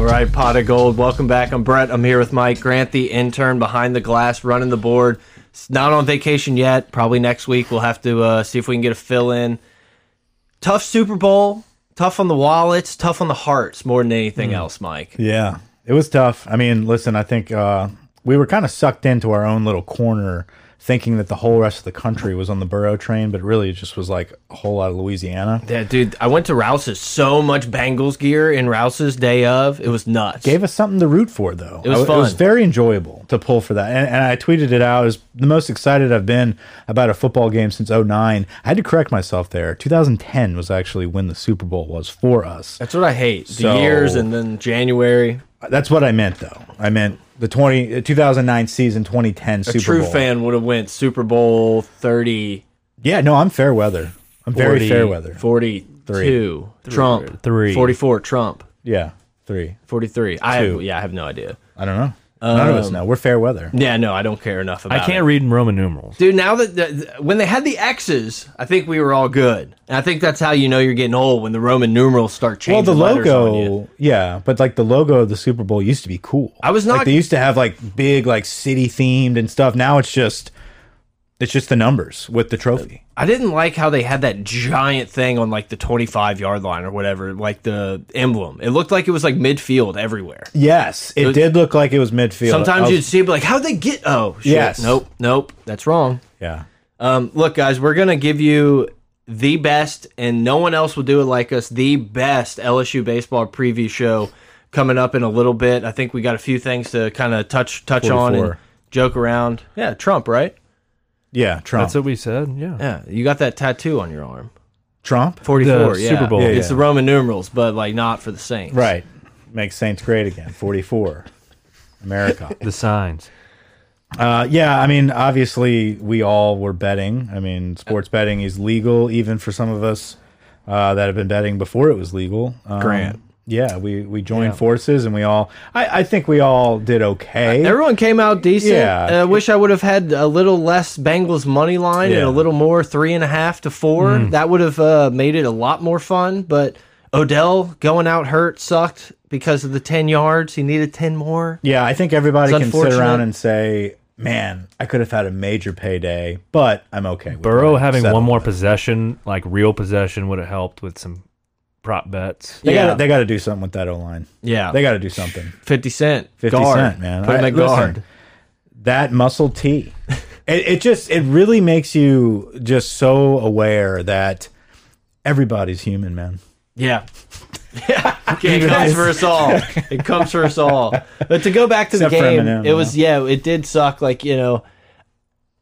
right, pot of gold. Welcome back. I'm Brett. I'm here with Mike Grant, the intern behind the glass, running the board. It's not on vacation yet. Probably next week we'll have to uh, see if we can get a fill in. Tough Super Bowl. Tough on the wallets. Tough on the hearts more than Hmm. anything else, Mike. Yeah, it was tough. I mean, listen, I think uh, we were kind of sucked into our own little corner, thinking that the whole rest of the country was on the Burrow train, but really it just was like a whole lot of Louisiana. Yeah, dude. I went to Rouse's. So much Bengals gear in Rouse's day of. It was nuts. Gave us something to root for, though. It was It was fun. very enjoyable to pull for that, and, and I tweeted it out. It was the most excited I've been about a football game since 09. I had to correct myself there. 2010 was actually when the Super Bowl was for us. That's what I hate. The So- years and then January. That's what I meant, though. I meant the 20 uh, 2009 season, 2010 Super True Bowl. fan would have went Super Bowl 30. Yeah, no, I'm fair weather. I'm very 40, fair weather. 42. Trump. Three. 44. Trump. Yeah, three. 43. I have, Two. yeah, I have no idea. I don't know. None of Um, us know. We're fair weather. Yeah, no, I don't care enough I about can't it. read in Roman numerals. Dude, now that the, the- when they had the X's, I think we were all good. And I think that's how you know you're getting old when the Roman numerals start Well, changing. the letters on you. logo, yeah, but like the logo of the Super Bowl used to be cool. I was not- Like, they used to have like big, like city themed and stuff. Now it's just, it's just the numbers with the trophy. I didn't like how they had that giant thing on like the 25 yard line or whatever, like the emblem. It looked like it was like midfield everywhere. Yes, it did look like it was midfield. I Sometimes was- you'd see, it, be like, how'd they get? Oh, shit. Yes. Nope, nope. That's wrong. yeah, Um, look, guys, we're gonna give you the best, and no one else will do it like us. The best LSU baseball preview show coming up in a little bit. I think we got a few things to kind of touch touch on and 44. joke around. Yeah, Trump, right? yeah, Trump, That's what we said. Yeah. Yeah, you got that tattoo on your arm. Trump, Forty four, The yeah. Super Bowl. Yeah, It's the Roman numerals, but like not for the Saints. right? Makes Saints great again. Forty four, America. The signs. Uh, yeah, I mean, obviously, we all were betting. I mean, sports betting is legal, even for some of us uh, that have been betting before it was legal. Um, Grant. Yeah, we we joined forces, and we all. I, I think we all did okay. Everyone came out decent. Yeah. I wish I would have had a little less Bengals money line and Yeah. Mm-hmm. a little more three and a half to four. That would have uh, made it a lot more fun. But Odell going out hurt sucked because of the ten yards. He needed ten more. yeah, I think everybody It's can sit unfortunate. around and say, "Man, I could have had a major payday, but I'm okay." With Burrow it. having Settle. one more possession, like real possession, would have helped with some prop bets. They Yeah. got they got to do something with that O line. Yeah, They got to do something. fifty cent. 50 guard. Cent, man. Put him I- at listen, guard. that muscle T. it, it just it really makes you just so aware that everybody's human, man. Yeah. Yeah, it comes for us all. It comes for us all. But to go back to the Except for game, Eminem, it was yeah, it did suck. Like you know,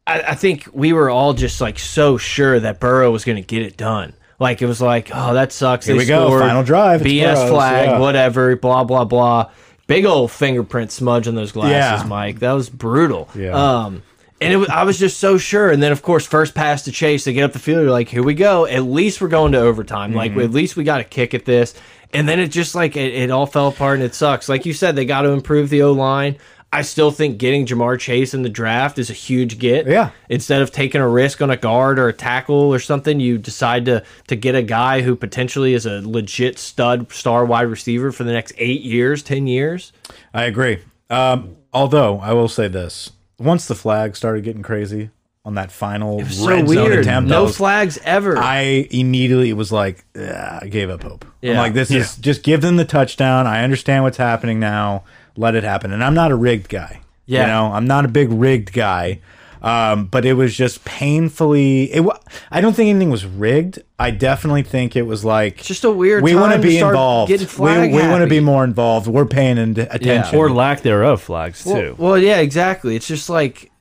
I, I think we were all just like so sure that Burrow was going to get it done. Like it was like, oh, that sucks. Here we go, final drive, it's BS Burrow's, flag, yeah. whatever. Blah blah blah. Big old fingerprint smudge on those glasses, Yeah. Mike. That was brutal. Yeah. Um, and it was, I was just so sure. And then, of course, first pass to Chase, they get up the field. You're like, here we go. At least we're going to overtime. Like, Mm-hmm. at least we got a kick at this. And then it just like it, it all fell apart and it sucks. Like you said, they got to improve the O line. I still think getting Jamar Chase in the draft is a huge get. Yeah. Instead of taking a risk on a guard or a tackle or something, you decide to to get a guy who potentially is a legit stud star wide receiver for the next eight years, ten years. I agree. Um, although I will say this: once the flag started getting crazy on that final red So zone weird. attempt, I No was- flags ever. I immediately was like, "Ugh," I gave up hope. I'm Yeah. like, this is just give them the touchdown. I understand what's happening now. Let it happen. And I'm not a rigged guy. Yeah. You know, I'm not a big rigged guy. Um, but it was just painfully. It. wa- I don't think anything was rigged. I definitely think it was like just a weird We wanna time to be start involved. getting We, flag we want to happy. be more involved. We're paying in- attention. Or lack thereof flags, too. Well, well, yeah, exactly. It's just like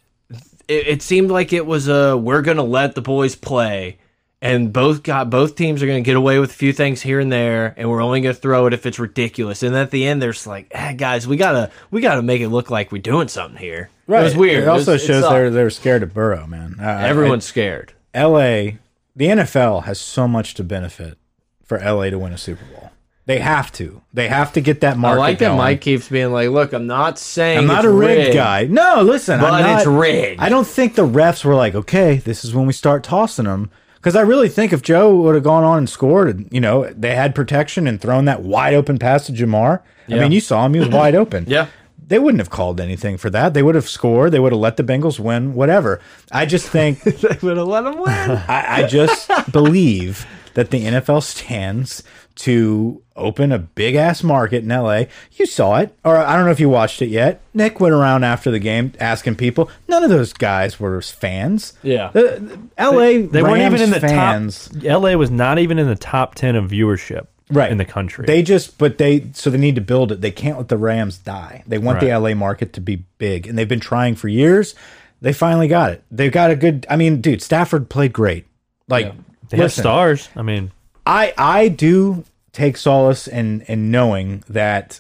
it, it seemed like it was a we're gonna let the boys play, and both got both teams are gonna get away with a few things here and there, and we're only gonna throw it if it's ridiculous. And at the end, there's like, ah, guys, we gotta we gotta make it look like we're doing something here. It was weird. It also was- shows sucked. they're they're scared of Burrow, man. Uh, everyone's scared. LA, the NFL has so much to benefit for LA to win a Super Bowl. They have to. They have to get that I market. like that going. Mike keeps being like, look, I'm not saying I'm not it's a rigged, guy. No, listen. But I'm not, it's rigged. I don't think the refs were like, okay, this is when we start tossing them. Because I really think if Joe would have gone on and scored, and, you know, they had protection and thrown that wide open pass to Jamar. I Yeah. mean, you saw him; he was wide open. Yeah. They wouldn't have called anything for that. They would have scored. They would have let the Bengals win. Whatever. I just think they would have let him win. I, I just believe that the NFL stands to open a big ass market in LA. You saw it, or I don't know if you watched it yet. Nick went around after the game asking people. None of those guys were fans. Yeah. The- the LA. They, They weren't even in the fans. top. LA was not even in the top ten of viewership Right. in the country. They just, but they, so they need to build it. They can't let the Rams die. They want the Right. LA market to be big, and they've been trying for years. They finally got it. They've got a good, I mean, dude, Stafford played great. Like, They have listen, stars. I mean, I I do take solace in in knowing that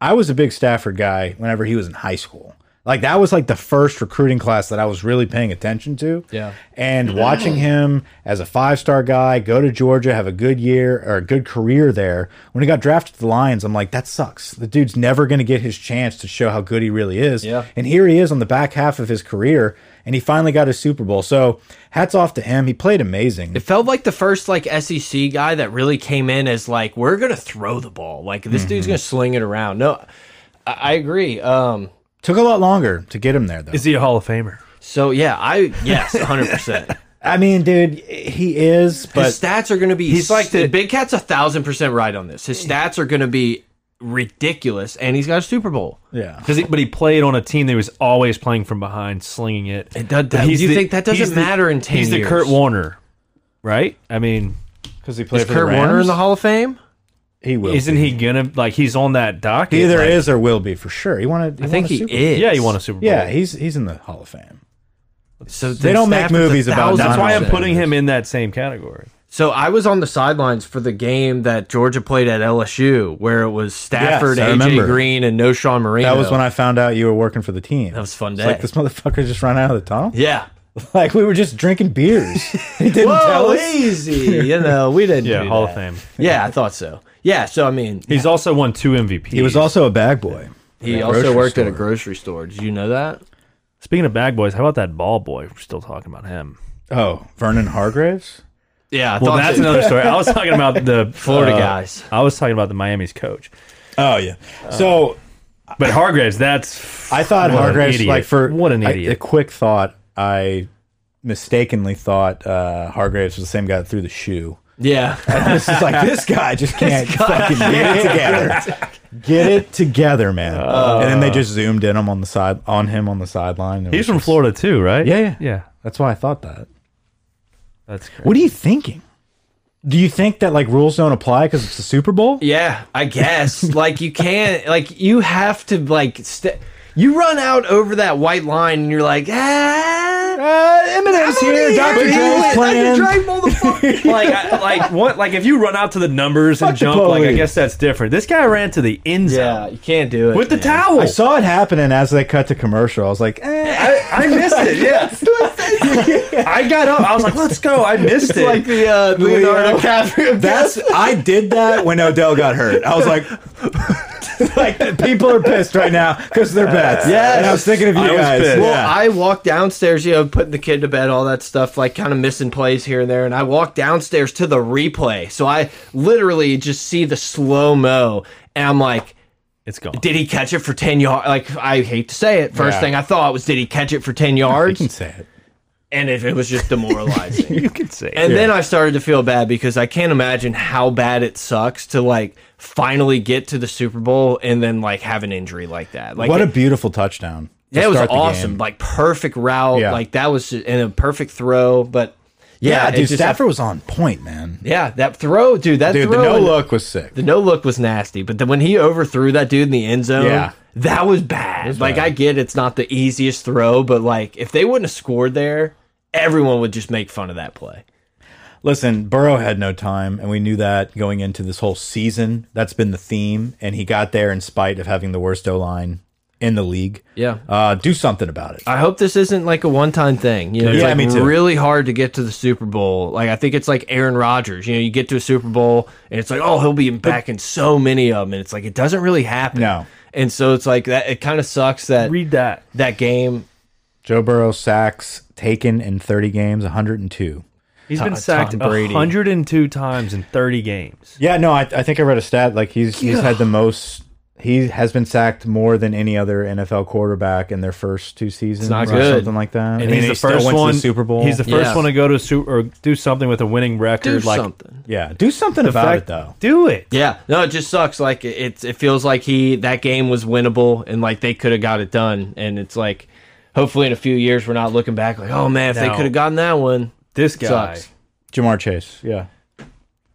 I was a big Stafford guy whenever he was in high school. Like that was like the first recruiting class that I was really paying attention to. Yeah. And watching him as a five-star guy go to Georgia, have a good year or a good career there. When he got drafted to the Lions, I'm like that sucks. The dude's never going to get his chance to show how good he really is. Yeah. And here he is on the back half of his career and he finally got his Super Bowl. So, hats off to him. He played amazing. It felt like the first like SEC guy that really came in as like we're gonna throw the ball. Like this dude's gonna sling it around. No, I, I agree. Um, Took a lot longer to get him there, though. is he a Hall of Famer? so yeah, I yes, hundred percent. I mean, dude, he is, but His stats are gonna be He's like the- Big Cat's a thousand percent right on this. His stats are gonna be ridiculous, and he's got a Super Bowl. yeah, Because but he played on a team that was always playing from behind, slinging it. It does- But that- he's you the- think that doesn't he's the- matter in 10 He's the years? Kurt Warner, right? I mean, because he played Is Kurt Warner in the Hall of Fame? He will. isn't he gonna like? He's on that docket. He either like- is or will be for sure. He wanted. I think he Super is. Yeah, he won a Super Bowl. Yeah, he's he's in the Hall of Fame. So They don't make Stafford's a movies about thousand that's why I'm percent. putting him in that same category. So I was on the sidelines for the game that Georgia played at LSU, where it was Stafford, Yes, I AJ remember. Green, and No Sean Marino. That was when I found out you were working for the team. That was a fun It's day. Like this motherfucker just ran out of the tunnel. yeah. Like we were just drinking beers. he didn't tell Whoa, us. easy. You know, we didn't. Yeah, do Hall that. of Fame. Yeah, I thought so. Yeah, so I mean, He's also won two MVPs. He was also a bag boy. he at a also grocery worked at a store. grocery store. Did you know that? Speaking of bag boys, how about that ball boy? We're still talking about him. Oh, Vernon Hargraves. Yeah, I Well, thought that's so. another story. I was talking about the Florida uh, guys. I was talking about the Miami's coach, Oh yeah. Uh, So but Hargraves. That's I thought What an Hargraves, idiot. like for What an I- idiot. a quick thought, I mistakenly thought uh, Hargraves was the same guy that threw the shoe. Yeah. this is like this guy just can't fucking get it together. Get it Oh. together, man. and then they just zoomed in him on the side on him on the sideline. It he's was from just- Florida too, right? Yeah, yeah, yeah. That's why I thought that. That's crazy. What are you thinking? Do you think that like rules don't apply because it's the Super Bowl? Yeah, I guess. like you can't. Like you have to. Like st you run out over that white line, and you're like, ah. Uh, Eminem's here. Dr. Dre's playing. like, I, like what? Like if you run out to the numbers and Fuck the jump, like I police. guess that's different. This guy ran to the end zone Yeah, you can't do it with the man. towel. I saw it happening as they cut to commercial. I was like, eh. I, I missed it. Yeah, I got up. I was like, "Let's go." I missed it. like the uh, Leonardo Leo. DiCaprio. That's I did that when Odell got hurt. I was like, like people are pissed right now because they're bets. Yes. and Uh, I was thinking of you I was guys. pissed. Yeah. Well, I walked downstairs, you know, putting the kid to bed, all that stuff, like kind of missing plays here and there. And I walked downstairs to the replay. So I literally just see the slow mo. And I'm like, it's gone. did he catch it for 10 yards? Like, I hate to say it. First Yeah. thing I thought was, did he catch it for 10 you can yards? say it. and if it was just demoralizing. You can say. And then I started to feel bad because I can't imagine how bad it sucks to like finally get to the Super Bowl and then like have an injury like that. Like What it- a beautiful touchdown! to That was start the awesome. game. Like perfect route. Yeah. Like that was and a perfect throw. But yeah, Yeah, it dude, just- Stafford was on point, man. yeah, that throw, dude. That Dude, throw. the no and- look was sick. The no look was nasty. But then when he overthrew that dude in the end zone, Yeah. that was bad. like bad. I get it's not the easiest throw, but like if they wouldn't have scored there, everyone would just make fun of that play. Listen, Burrow had no time, and we knew that going into this whole season. That's been the theme, and he got there in spite of having the worst O line in the league. Yeah. uh, do something about it. I hope this isn't like a one time thing. You know, it's Yeah, like me too. really hard to get to the Super Bowl. Like I think it's like Aaron Rodgers. You know, you get to a Super Bowl and it's like, oh, he'll be back in so many of them, and it's like it doesn't really happen. No. and so it's like that. It kind of sucks that read that. that game. Joe Burrow sacks taken in 30 games, 102. He's Tom- been sacked Tom Brady. 102 times in 30 games. Yeah, no, I, I think I read a stat like he's he's had the most. He has been sacked more than any other NFL quarterback in their first two seasons, not or good. something like that. And I mean, he's the he still first went to one. the Super Bowl. He's the first Yeah. one to go to su or do something with a winning record. do like something. yeah, do something the about fact- it though. Do it. Yeah, no, it just sucks. Like it- it's it feels like he that game was winnable and like they could have got it done. And it's like, hopefully in a few years we're not looking back like, oh man, if they No. could have gotten that one. This guy, Sucks. Jamar Chase, yeah,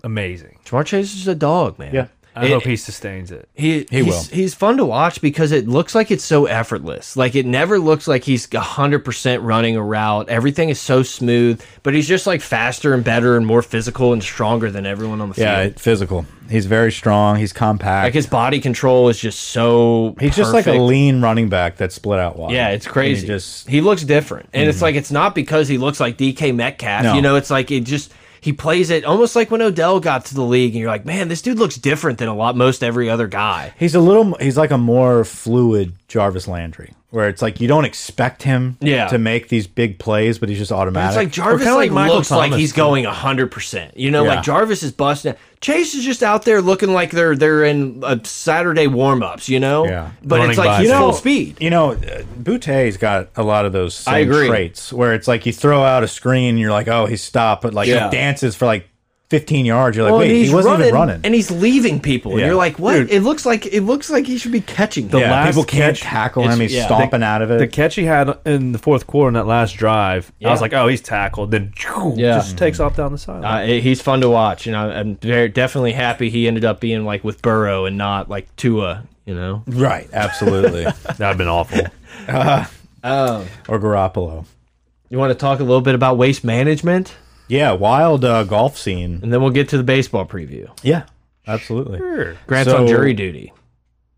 amazing. Jamar Chase is a dog, man. yeah. I It- hope he sustains it. He, He he's, will. He's fun to watch because it looks like it's so effortless. Like it never looks like he's hundred percent running a route. Everything is so smooth, but he's just like faster and better and more physical and stronger than everyone on the Yeah, field. it- physical. He's very strong. He's compact. Like his body control is just so. he's just like a perfect. lean running back that's split out wide. Yeah, it's And he crazy. He, just Mm-hmm. looks different, and it's like it's not because he looks like DK Metcalf. No. You know, it's like it just he plays it almost like when Odell got to the league, and you're like, man, this dude looks different than a lot most every other guy. he's a little. He's like a more fluid Jarvis Landry, where it's like you don't expect him Yeah. to make these big plays, but he's just automatic. It's like Jarvis kinda like, like Michael looks like Thomas, he's too. going hundred percent. You know, Yeah. like Jarvis is busting. Chase is just out there looking like they're they're in uh, Saturday warm ups. You know, Yeah. But Running it's like by he's his full know, speed. You know, uh, Boute's got a lot of those same I agree. traits where it's like you throw out a screen, you're like, oh, he stopped, but like Yeah. he dances for like 15 yards. You're like, Well, and wait, he wasn't even running. and he's leaving people. And Yeah. you're like, what? Dude. It looks like it looks like he should be catching. them. yeah, last people can't catch- tackle it's- him. He's yeah. stomping out of it. The catch he had in the fourth quarter in that last drive, I was like, oh, he's tackled. Then Yeah. just takes off down the sideline. Uh, it- he's fun to watch, and I, I'm very, definitely happy he ended up being like with Burrow and not like Tua. You know, right, absolutely. That'd have been awful. or Garoppolo. you want to talk a little bit about waste management, Yeah, wild uh, golf scene. and then we'll get to the baseball preview. Yeah, absolutely. Grant's So- on jury duty.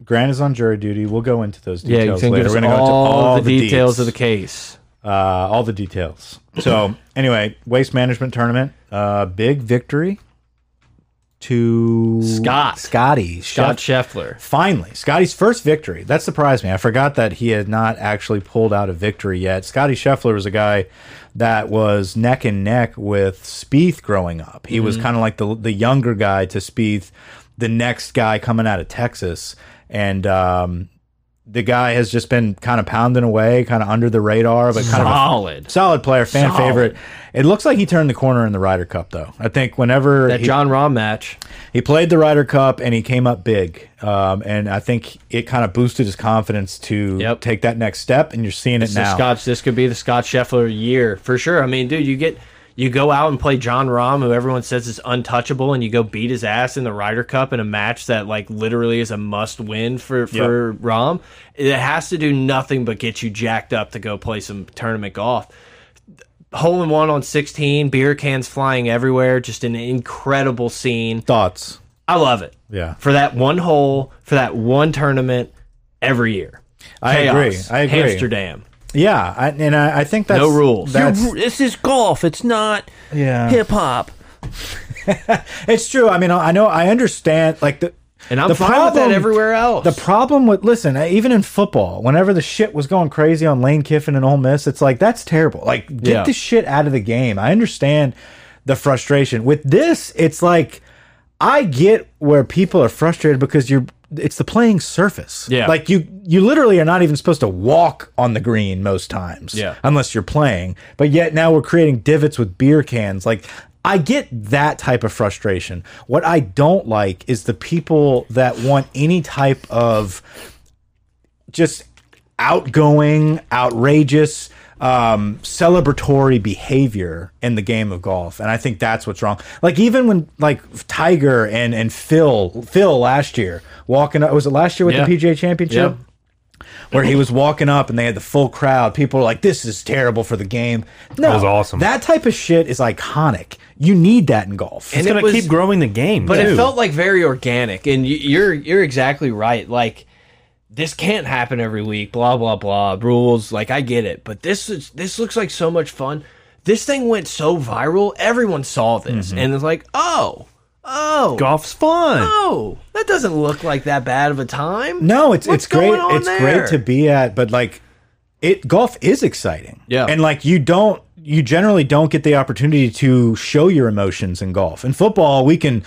Grant is on jury duty. We'll go into those Yeah, you details can later. get us We're going to go into all the details deets. of the case. uh, all the details. So anyway, waste management tournament, uh, big victory to Scott. Scotty Scott Scheffler. Scheffler. Finally, Scotty's first victory. That surprised me. I forgot that he had not actually pulled out a victory yet. Scotty Scheffler was a guy that was neck and neck with Spieth growing up. He Mm-hmm. was kind of like the the younger guy to Spieth, the next guy coming out of Texas, and um, the guy has just been kind of pounding away, kind of under the radar, but kind of a Solid. Solid player, fan Solid. favorite. It looks like he turned the corner in the Ryder Cup, though. I think whenever That he, John Rahm match. he played the Ryder Cup and he came up big, um, and I think it kind of boosted his confidence to Yep. take that next step. And you're seeing it So now. Scott's this could be the Scott Scheffler year for sure. I mean, dude, you get you go out and play John Rahm, who everyone says is untouchable, and you go beat his ass in the Ryder Cup in a match that like literally is a must win for for Rahm. It has to do nothing but get you jacked up to go play some tournament golf. Hole in one on sixteen, beer cans flying everywhere, just an incredible scene. Thoughts? I love it. Yeah. For that one hole, for that one tournament every year. I agree. Chaos. I agree. Amsterdam. Yeah, I, and I, I think that's No rules. That's, this is golf. It's not yeah, hip hop. it's true. I mean, I I know, I understand. Like the And I'm the fine with that everywhere else. The problem with listen, uh, even in football, whenever the shit was going crazy on Lane Kiffin and Ole Miss, it's like that's terrible. Like get Yeah. the shit out of the game. I understand the frustration. With this, it's like I get where people are frustrated because you're it's the playing surface. Yeah. Like you you literally are not even supposed to walk on the green most times. Yeah. Unless you're playing. But yet now we're creating divots with beer cans. Like I get that type of frustration. What I don't like is the people that want any type of just outgoing, outrageous, um, celebratory behavior in the game of golf, and I think that's what's wrong. Like even when like Tiger and and Phil Phil last year walking up was it last year with Yeah. the PGA Championship? Where he was walking up and they had the full crowd. People were like, "This is terrible for the game." No, was awesome. That type of shit is iconic. You need that in golf. It's it going to was- keep growing the game. but too. it felt like very organic and y- you're you're exactly right like this can't happen every week blah blah blah rules like i get it but this is this looks like so much fun this thing went so viral everyone saw this Mm-hmm. and it's like oh oh golf's fun. oh that doesn't look like that bad of a time No, it's What's it's great. going on It's there? great to be at, but like it golf is exciting. Yeah. And like you don't you generally don't get the opportunity to show your emotions in golf. In football, we can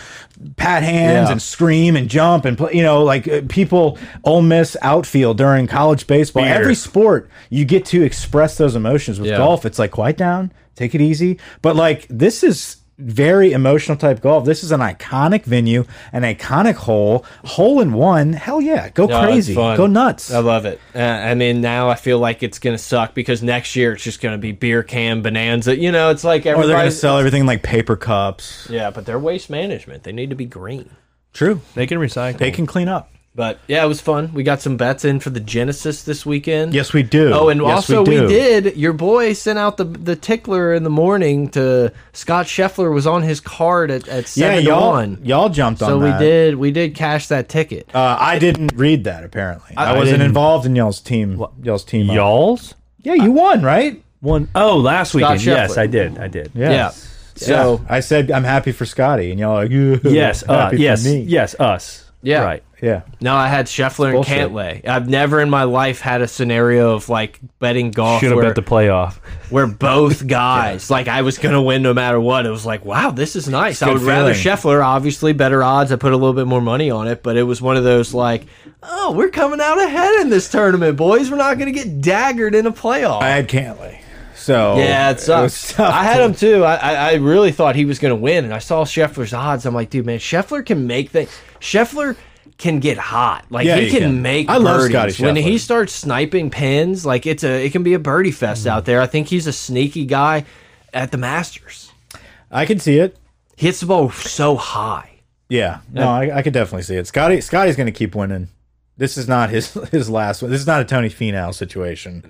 pat hands Yeah. and scream and jump and play. You know, like uh, people Ole Miss outfield during college baseball. Beer. Every sport, you get to express those emotions. With Yeah. golf, it's like quiet down, take it easy. But like this is very emotional type golf. This is an iconic venue, an iconic hole, hole in one. Hell yeah, go No, it's crazy, fun. go nuts. I love it. Uh, I mean, now I feel like it's gonna suck because next year it's just gonna be beer can bonanza. You know, it's like Or Oh, they're everybody. gonna sell everything in, like paper cups. yeah, but they're waste management. They need to be green. True, They can recycle. they can clean up. But yeah, it was fun. We got some bets in for the Genesis this weekend. Yes, we do. Oh, and Yes, also we, do. did. Your boy sent out the the tickler in the morning to Scott Scheffler was on his card at, at Yeah, seven to y'all, one. y'all jumped on So we that. did we did cash that ticket. Uh, I didn't read that apparently. I, I wasn't didn't- involved in y'all's team. Y'all's team. up. Y'all's Yeah, you won, right? one. Oh, last weekend. Scheffler. Yes, I did. I did. Yeah. So I said I'm happy for Scotty, and y'all are like, Yes. Uh, happy yes. for me. Yes. Us. Yeah. Right. yeah. No, I had Scheffler and Bullshit. Cantlay. I've never in my life had a scenario of like betting golf Should have where, bet the playoff. where both guys like I was gonna win no matter what. It was like, wow, this is nice. I good would rather feeling. Scheffler, obviously better odds. I put a little bit more money on it, but it was one of those like, oh, we're coming out ahead in this tournament, boys. We're not gonna get daggered in a playoff. I had Cantley, so yeah, it Oh, was sucks. tough I had to- him too. I, I, I really thought he was going to win, and I saw Scheffler's odds. I'm like, dude, man, Scheffler can make things. Scheffler can get hot. Like Yeah, he he can, can. make. I love birdies. Scotty When Scheffler. he starts sniping pins, like it's a it can be a birdie fest out there. I think he's a sneaky guy at the Masters. I can see it. He hits the ball so high. Yeah, no, I, I could definitely see it. Scotty, Scotty's going to keep winning. This is not his his last one. This is not a Tony Finau situation.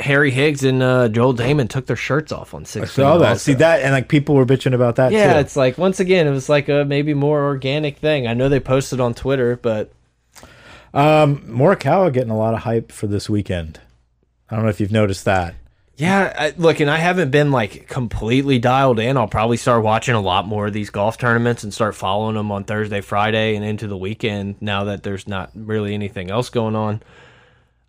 Harry Higgs and uh, Joel Damon took their shirts off on six. So oh, all that, Uh, see that, and like people were bitching about that. Yeah, too. it's like once again, it was like a maybe more organic thing. I know they posted on Twitter, but Morikawa getting a lot of hype for this weekend. I don't know if you've noticed that. Yeah, I, look, and I haven't been like completely dialed in. I'll probably start watching a lot more of these golf tournaments and start following them on Thursday, Friday, and into the weekend now that there's not really anything else going on.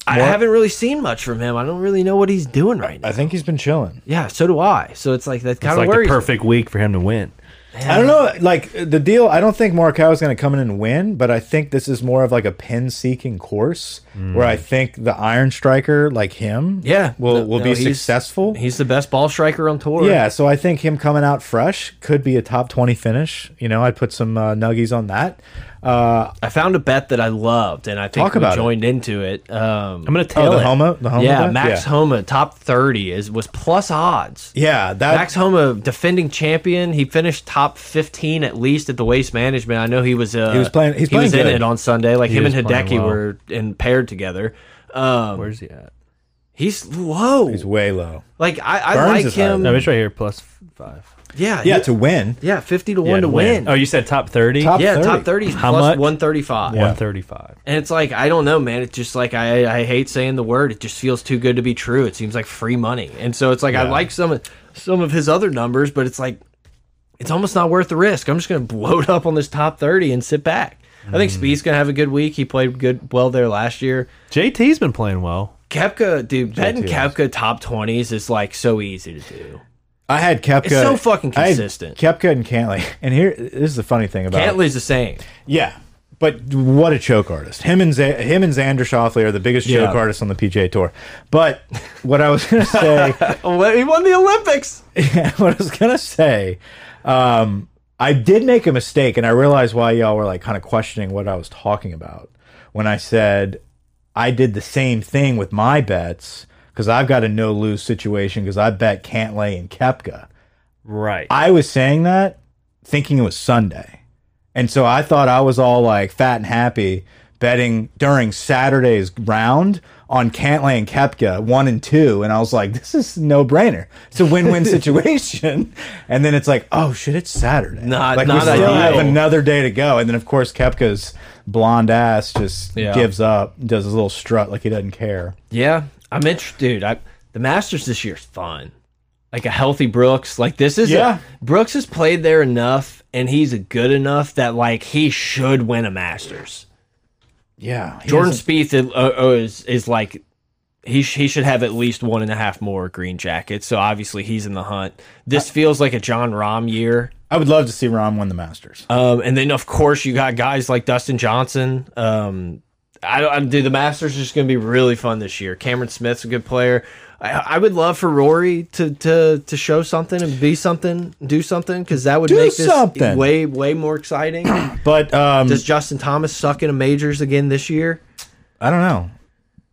I haven't really seen much from him. I don't really know what he's doing right now. I think he's been chilling. Yeah, so do I. So it's like that It's kind of like the worries. perfect week for him to win. I don't know, like the deal. I don't think Morikawa's going to come in and win, but I think this is more of like a pin seeking course where I think the iron striker like him, Yeah, will no- will no, be he's- successful. He's the best ball striker on tour. Yeah, so I think him coming out fresh could be a top twenty finish. You know, I'd put some uh, nuggies on that. Uh, I found a bet that I loved, and I think Talk we about it. joined into it. Um, I'm gonna oh, tell the it. Homa, the Homa, yeah, guy? Max yeah. Homa, top thirty is was plus odds. yeah, that Max Homa, defending champion, he finished top fifteen at least at the Waste Management. I know he was. Uh, He was playing- he's he was playing in good. it on Sunday. Like him and is playing Hideki well. were in paired together. Um, Where's he at? he's low. is way low. like I, I Burns like is him. No, it's right here. Plus five. yeah, Yeah, yeah, to win. yeah, fifty to one Yeah, to win. Oh, you said top thirty. Top yeah, 30. top thirty is How plus much? one thirty five. one thirty-five. And it's like I don't know, man. It's just like I I hate saying the word. It just feels too good to be true. It seems like free money, and so it's like I like some of- some of his other numbers, but it's like it's almost not worth the risk. I'm just gonna blow it up on this top thirty and sit back. I think Speed's gonna have a good week. He played good well there last year. JT's been playing well. Kepka, dude, betting JT. Kepka top twenties is like so easy to do. I had Kepka. It's so fucking I had consistent. Kepka and Cantley. And here, this is the funny thing about Cantley's the same. Yeah. But what a choke artist! Him and Z him and Xander Shoffley are the biggest Yeah. choke artists on the PGA Tour. But what I was gonna say, Oh, He won the Olympics. what I was gonna say, um, I did make a mistake, and I realized why y'all were like kind of questioning what I was talking about when I said I did the same thing with my bets because I've got a no lose situation because I bet Cantlay and Kepka. Right. I was saying that thinking it was Sunday. And so I thought I was all like fat and happy betting during Saturday's round on Cantlay and Kepka, one and two. And I was like, this is no brainer. It's a win win situation. And then it's like, oh shit, it's Saturday. Not- like not we still ideal. have another day to go. And then of course Kepka's blonde ass just Yeah. gives up, does his little strut like he doesn't care. Yeah, I'm interested. Dude, I, the Masters this year's fun. Like a healthy Brooks, like this is a- Yeah. Brooks has played there enough, and he's good enough that like he should win a Masters. Yeah. he Jordan doesn't- Spieth oh, is, uh, uh, is is like he sh he should have at least one and a half more green jackets. So obviously he's in the hunt. This feels like a John Rahm year. I would love to see Rom win the Masters. Um, and then of course you got guys like Dustin Johnson. Um, I, don't- I dude, the Masters is just going to be really fun this year. Cameron Smith's a good player. I, I would love for Rory to to to show something and be something, do something because that would Do make this something. way way more exciting. But um, Does Justin Thomas suck in a majors again this year? I don't know.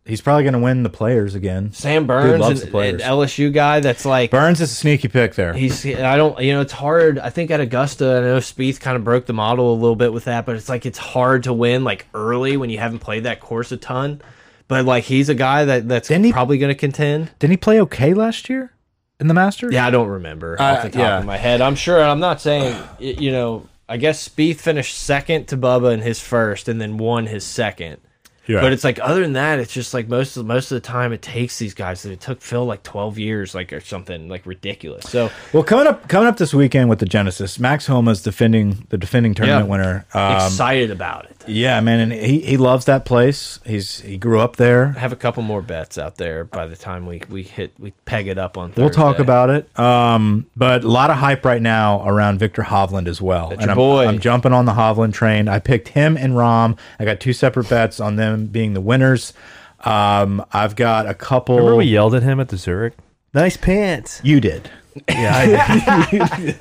He's probably going to win the players again. Sam Dude Burns, loves an, the players. an LSU guy that's like Burns is a sneaky pick there. He's I don't you know it's hard. I think at Augusta, I know Spieth kind of broke the model a little bit with that, but it's like it's hard to win like early when you haven't played that course a ton. But like he's a guy that that's Didn't he- probably going to contend. Didn't he play okay last year in the Masters? Yeah, I don't remember off Uh, the top yeah. of my head. I'm sure. I'm not saying y- you know. I guess Spieth finished second to Bubba in his first, and then won his second. Yeah. But it's like other than that, it's just like most of most of the time it takes these guys. It took Phil like 12 years, like or something like ridiculous. So Well, coming up, coming up this weekend with the Genesis, Max Homa is defending the defending tournament Yeah. winner. Um, excited about it. yeah, man, and he, he loves that place. He's he grew up there. have a couple more bets out there by the time we we hit we peg it up on Thursday. We'll talk about it. Um, but a lot of hype right now around Victor Hovland as well. and your I'm, boy. I'm jumping on the Hovland train. I picked him and Rom. I got two separate bets on them being the winners. Um, I've got a couple. Remember we yelled at him at the Zurich? Nice pants. you did,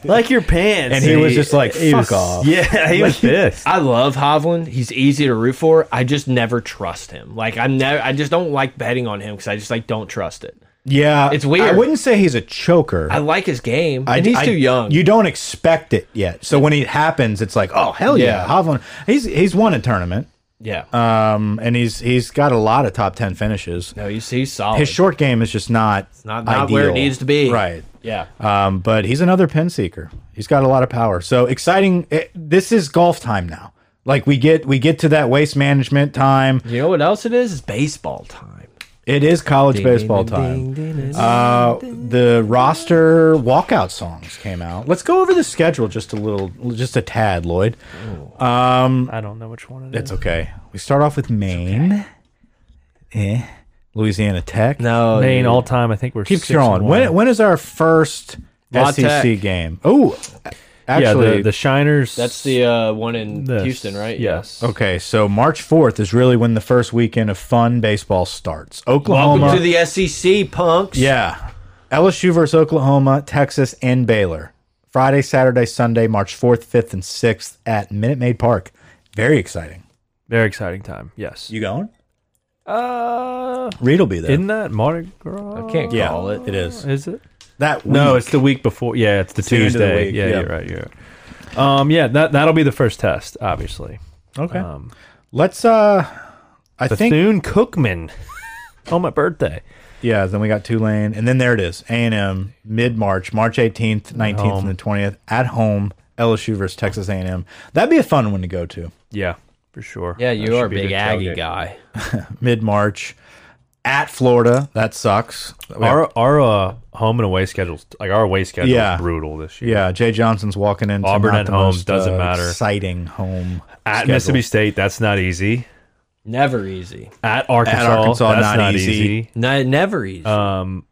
Like your pants. and he was just like, "Fuck off." Yeah, he was pissed. I love Hovland. He's easy to root for. I just never trust him. Like I never I just don't like betting on him because I just like don't trust it. Yeah, It's weird. I wouldn't say he's a choker. I like his game. I- and he's I- too young. You don't expect it yet. So when it happens, it's like, oh hell Yeah. yeah, Hovland. He's he's won a tournament, yeah. um, and he's he's got a lot of top ten finishes. no, you see, he's solid. His short game is just not not not where it ideal. needs to be. right? Yeah. Um, but he's another pin seeker. He's got a lot of power. So exciting! It, this is golf time now. Like we get we get to that waste management time. You know what else it is? It's baseball time. It is college baseball time. Uh, the roster walkout songs came out. Let's go over the schedule just a little, just a tad, Lloyd. I don't know which one it is. It's okay. We start off with Maine, eh? Louisiana Tech. No, Maine dude. all time. I think we're keep six and scrolling. one. When when is our first La SEC Tech. game? Oh, yeah, actually, the, the Shiners. that's the uh, one in this. Oh, Houston, right? Yes. okay. So March fourth is really when the first weekend of fun baseball starts. Oklahoma. Welcome to the SEC, punks. Yeah. LSU versus Oklahoma, Texas, and Baylor. Friday, Saturday, Sunday, March 4th, 5th, and 6th at Minute Maid Park. Very exciting. Very exciting time. Yes. You going? Uh, Reed will be there. isn't that Mardi Gras? I can't yeah, call it. it is. Is it? That No, week. it's the week before. Yeah, it's the the end of the Tuesday. week, Yeah, yeah. you're right. You're right. Um, yeah, that that'll be the first test, obviously. okay. Um, Let's uh I think Bethune Cookman on my birthday. yeah, then we got Tulane and then there it is. A&M mid-March, March 18th, 19th home. and the 20th at home. LSU versus Texas A&M. That'd be a fun one to go to. Yeah, for sure. Yeah, That you should are a be big good Aggie tailgate. guy. Mid-March at Florida. That sucks. Our our uh, home and away schedules, like our away schedule, Yeah. is brutal this year. Yeah, Jay Johnson's walking into Auburn not at the home most, doesn't uh, matter. Exciting home At schedule. Mississippi State, that's not easy. Never easy. At Arkansas, Arkansas, that's not not, easy. easy. No, never easy. Um,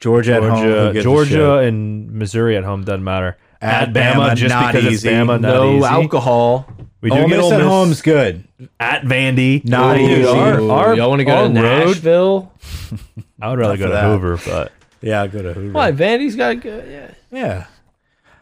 Georgia at home, who Georgia, gives a Georgia shit? and Missouri at home doesn't matter. At At, Bama, Bama, just not because easy. it's Bama, not no easy. alcohol. We do Ole get Miss Ole at Miss home's good. at Vandy. Not Ooh, easy. our- our- y'all want to go our to road- Nashville? I would rather go for to that. Hoover, but Yeah, I'll go to Hoover. Why? Vandy's got good. Yeah. Yeah.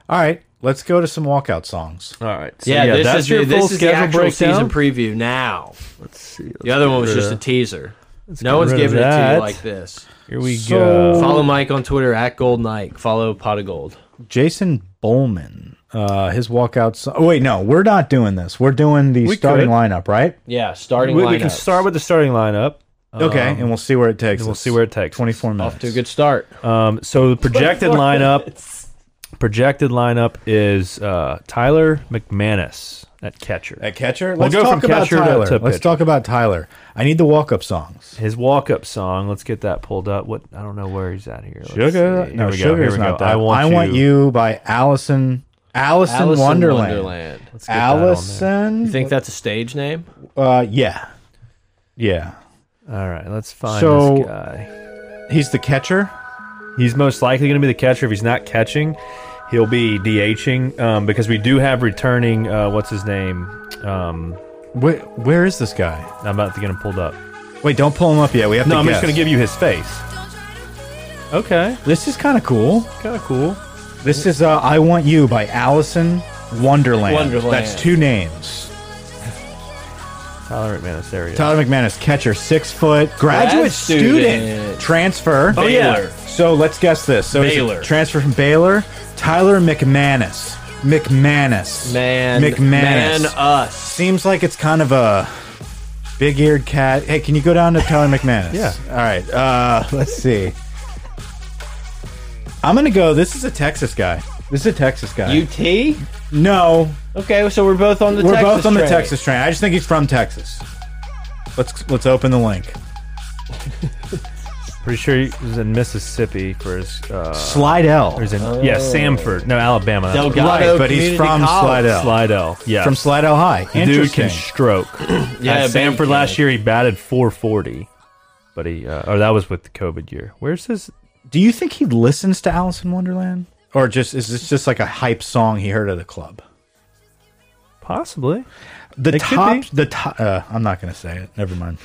All right, let's go to some walkout songs. all right. yeah, this that's is your your, full this is the schedule actual season breakdown. preview now. Let's see. The other one was just a teaser. No one's rid of giving it to you that. like this. Here we So- go. Follow Mike on Twitter at Gold Nike. Follow Pot of Gold. Jason Bowman, uh, his walkout song. Oh, wait, no, we're not doing this. We're doing the starting could. lineup, right? Yeah, starting We, lineup. we can start with the starting lineup. okay, and we'll see where it takes. and Um, we'll us. see where it takes us. 24 minutes. off to a good start. Um, so the projected lineup, projected lineup is uh, Tyler McManus at catcher. At catcher, We'll let's go talk from about catcher to- Tyler. to let's pitcher. talk about Tyler. I need the walk-up songs. His walk-up song. Let's get that pulled up. What I don't know where he's at here. Let's Sugar, see. Here no, we go, here sugar's we not go. that. I want, you by Allison. Allison, Alice in Wonderland. Wonderland. Let's get that on there. Allison. You think that's a stage name? Uh, yeah, yeah. All right, let's find So- this guy. He's the catcher. He's most likely going to be the catcher. If he's not catching, he'll be DHing um, because we do have returning. Uh, what's his name? Um, Where, where is this guy? I'm about to get him pulled up. Wait, don't pull him up yet. We have No, to. I'm just guess. going to give you his face. Okay, This is kind of cool. kind of cool. This is uh, "I Want You" by Allison Wonderland. Wonderland. That's two names. Tyler McManus, there he is. Tyler McManus, catcher, six foot, graduate Grad student. student. transfer. Oh, yeah. Baylor. So let's guess this. So is it Baylor. transfer from Baylor. Tyler McManus. McManus. Man, McManus. man, us. Seems like it's kind of a big-eared cat. Hey, can you go down to Tyler McManus? Yeah. All right. Uh, let's see. I'm gonna go. This is a Texas guy. This is a Texas guy. UT. no, Okay, so we're both on the. we're Texas both on the train. Texas train. I just think he's from Texas. Let's let's open the link. Pretty sure he was in Mississippi for his. Uh, Slidell. or he's in, Yeah, Samford. No, Alabama. that's what it was. Delgado Right, but he's Community from College. Slidell. Slidell. Yeah. From Slidell High. dude Interesting. can stroke. Yeah, At big Samford last kid. year he batted 440, but he uh, or that was with the COVID year. Where's his? Do you think he listens to Alice in Wonderland? Or just is this just like a hype song he heard at a club? Possibly. The could top be. the top uh, I'm not gonna say it. Never mind.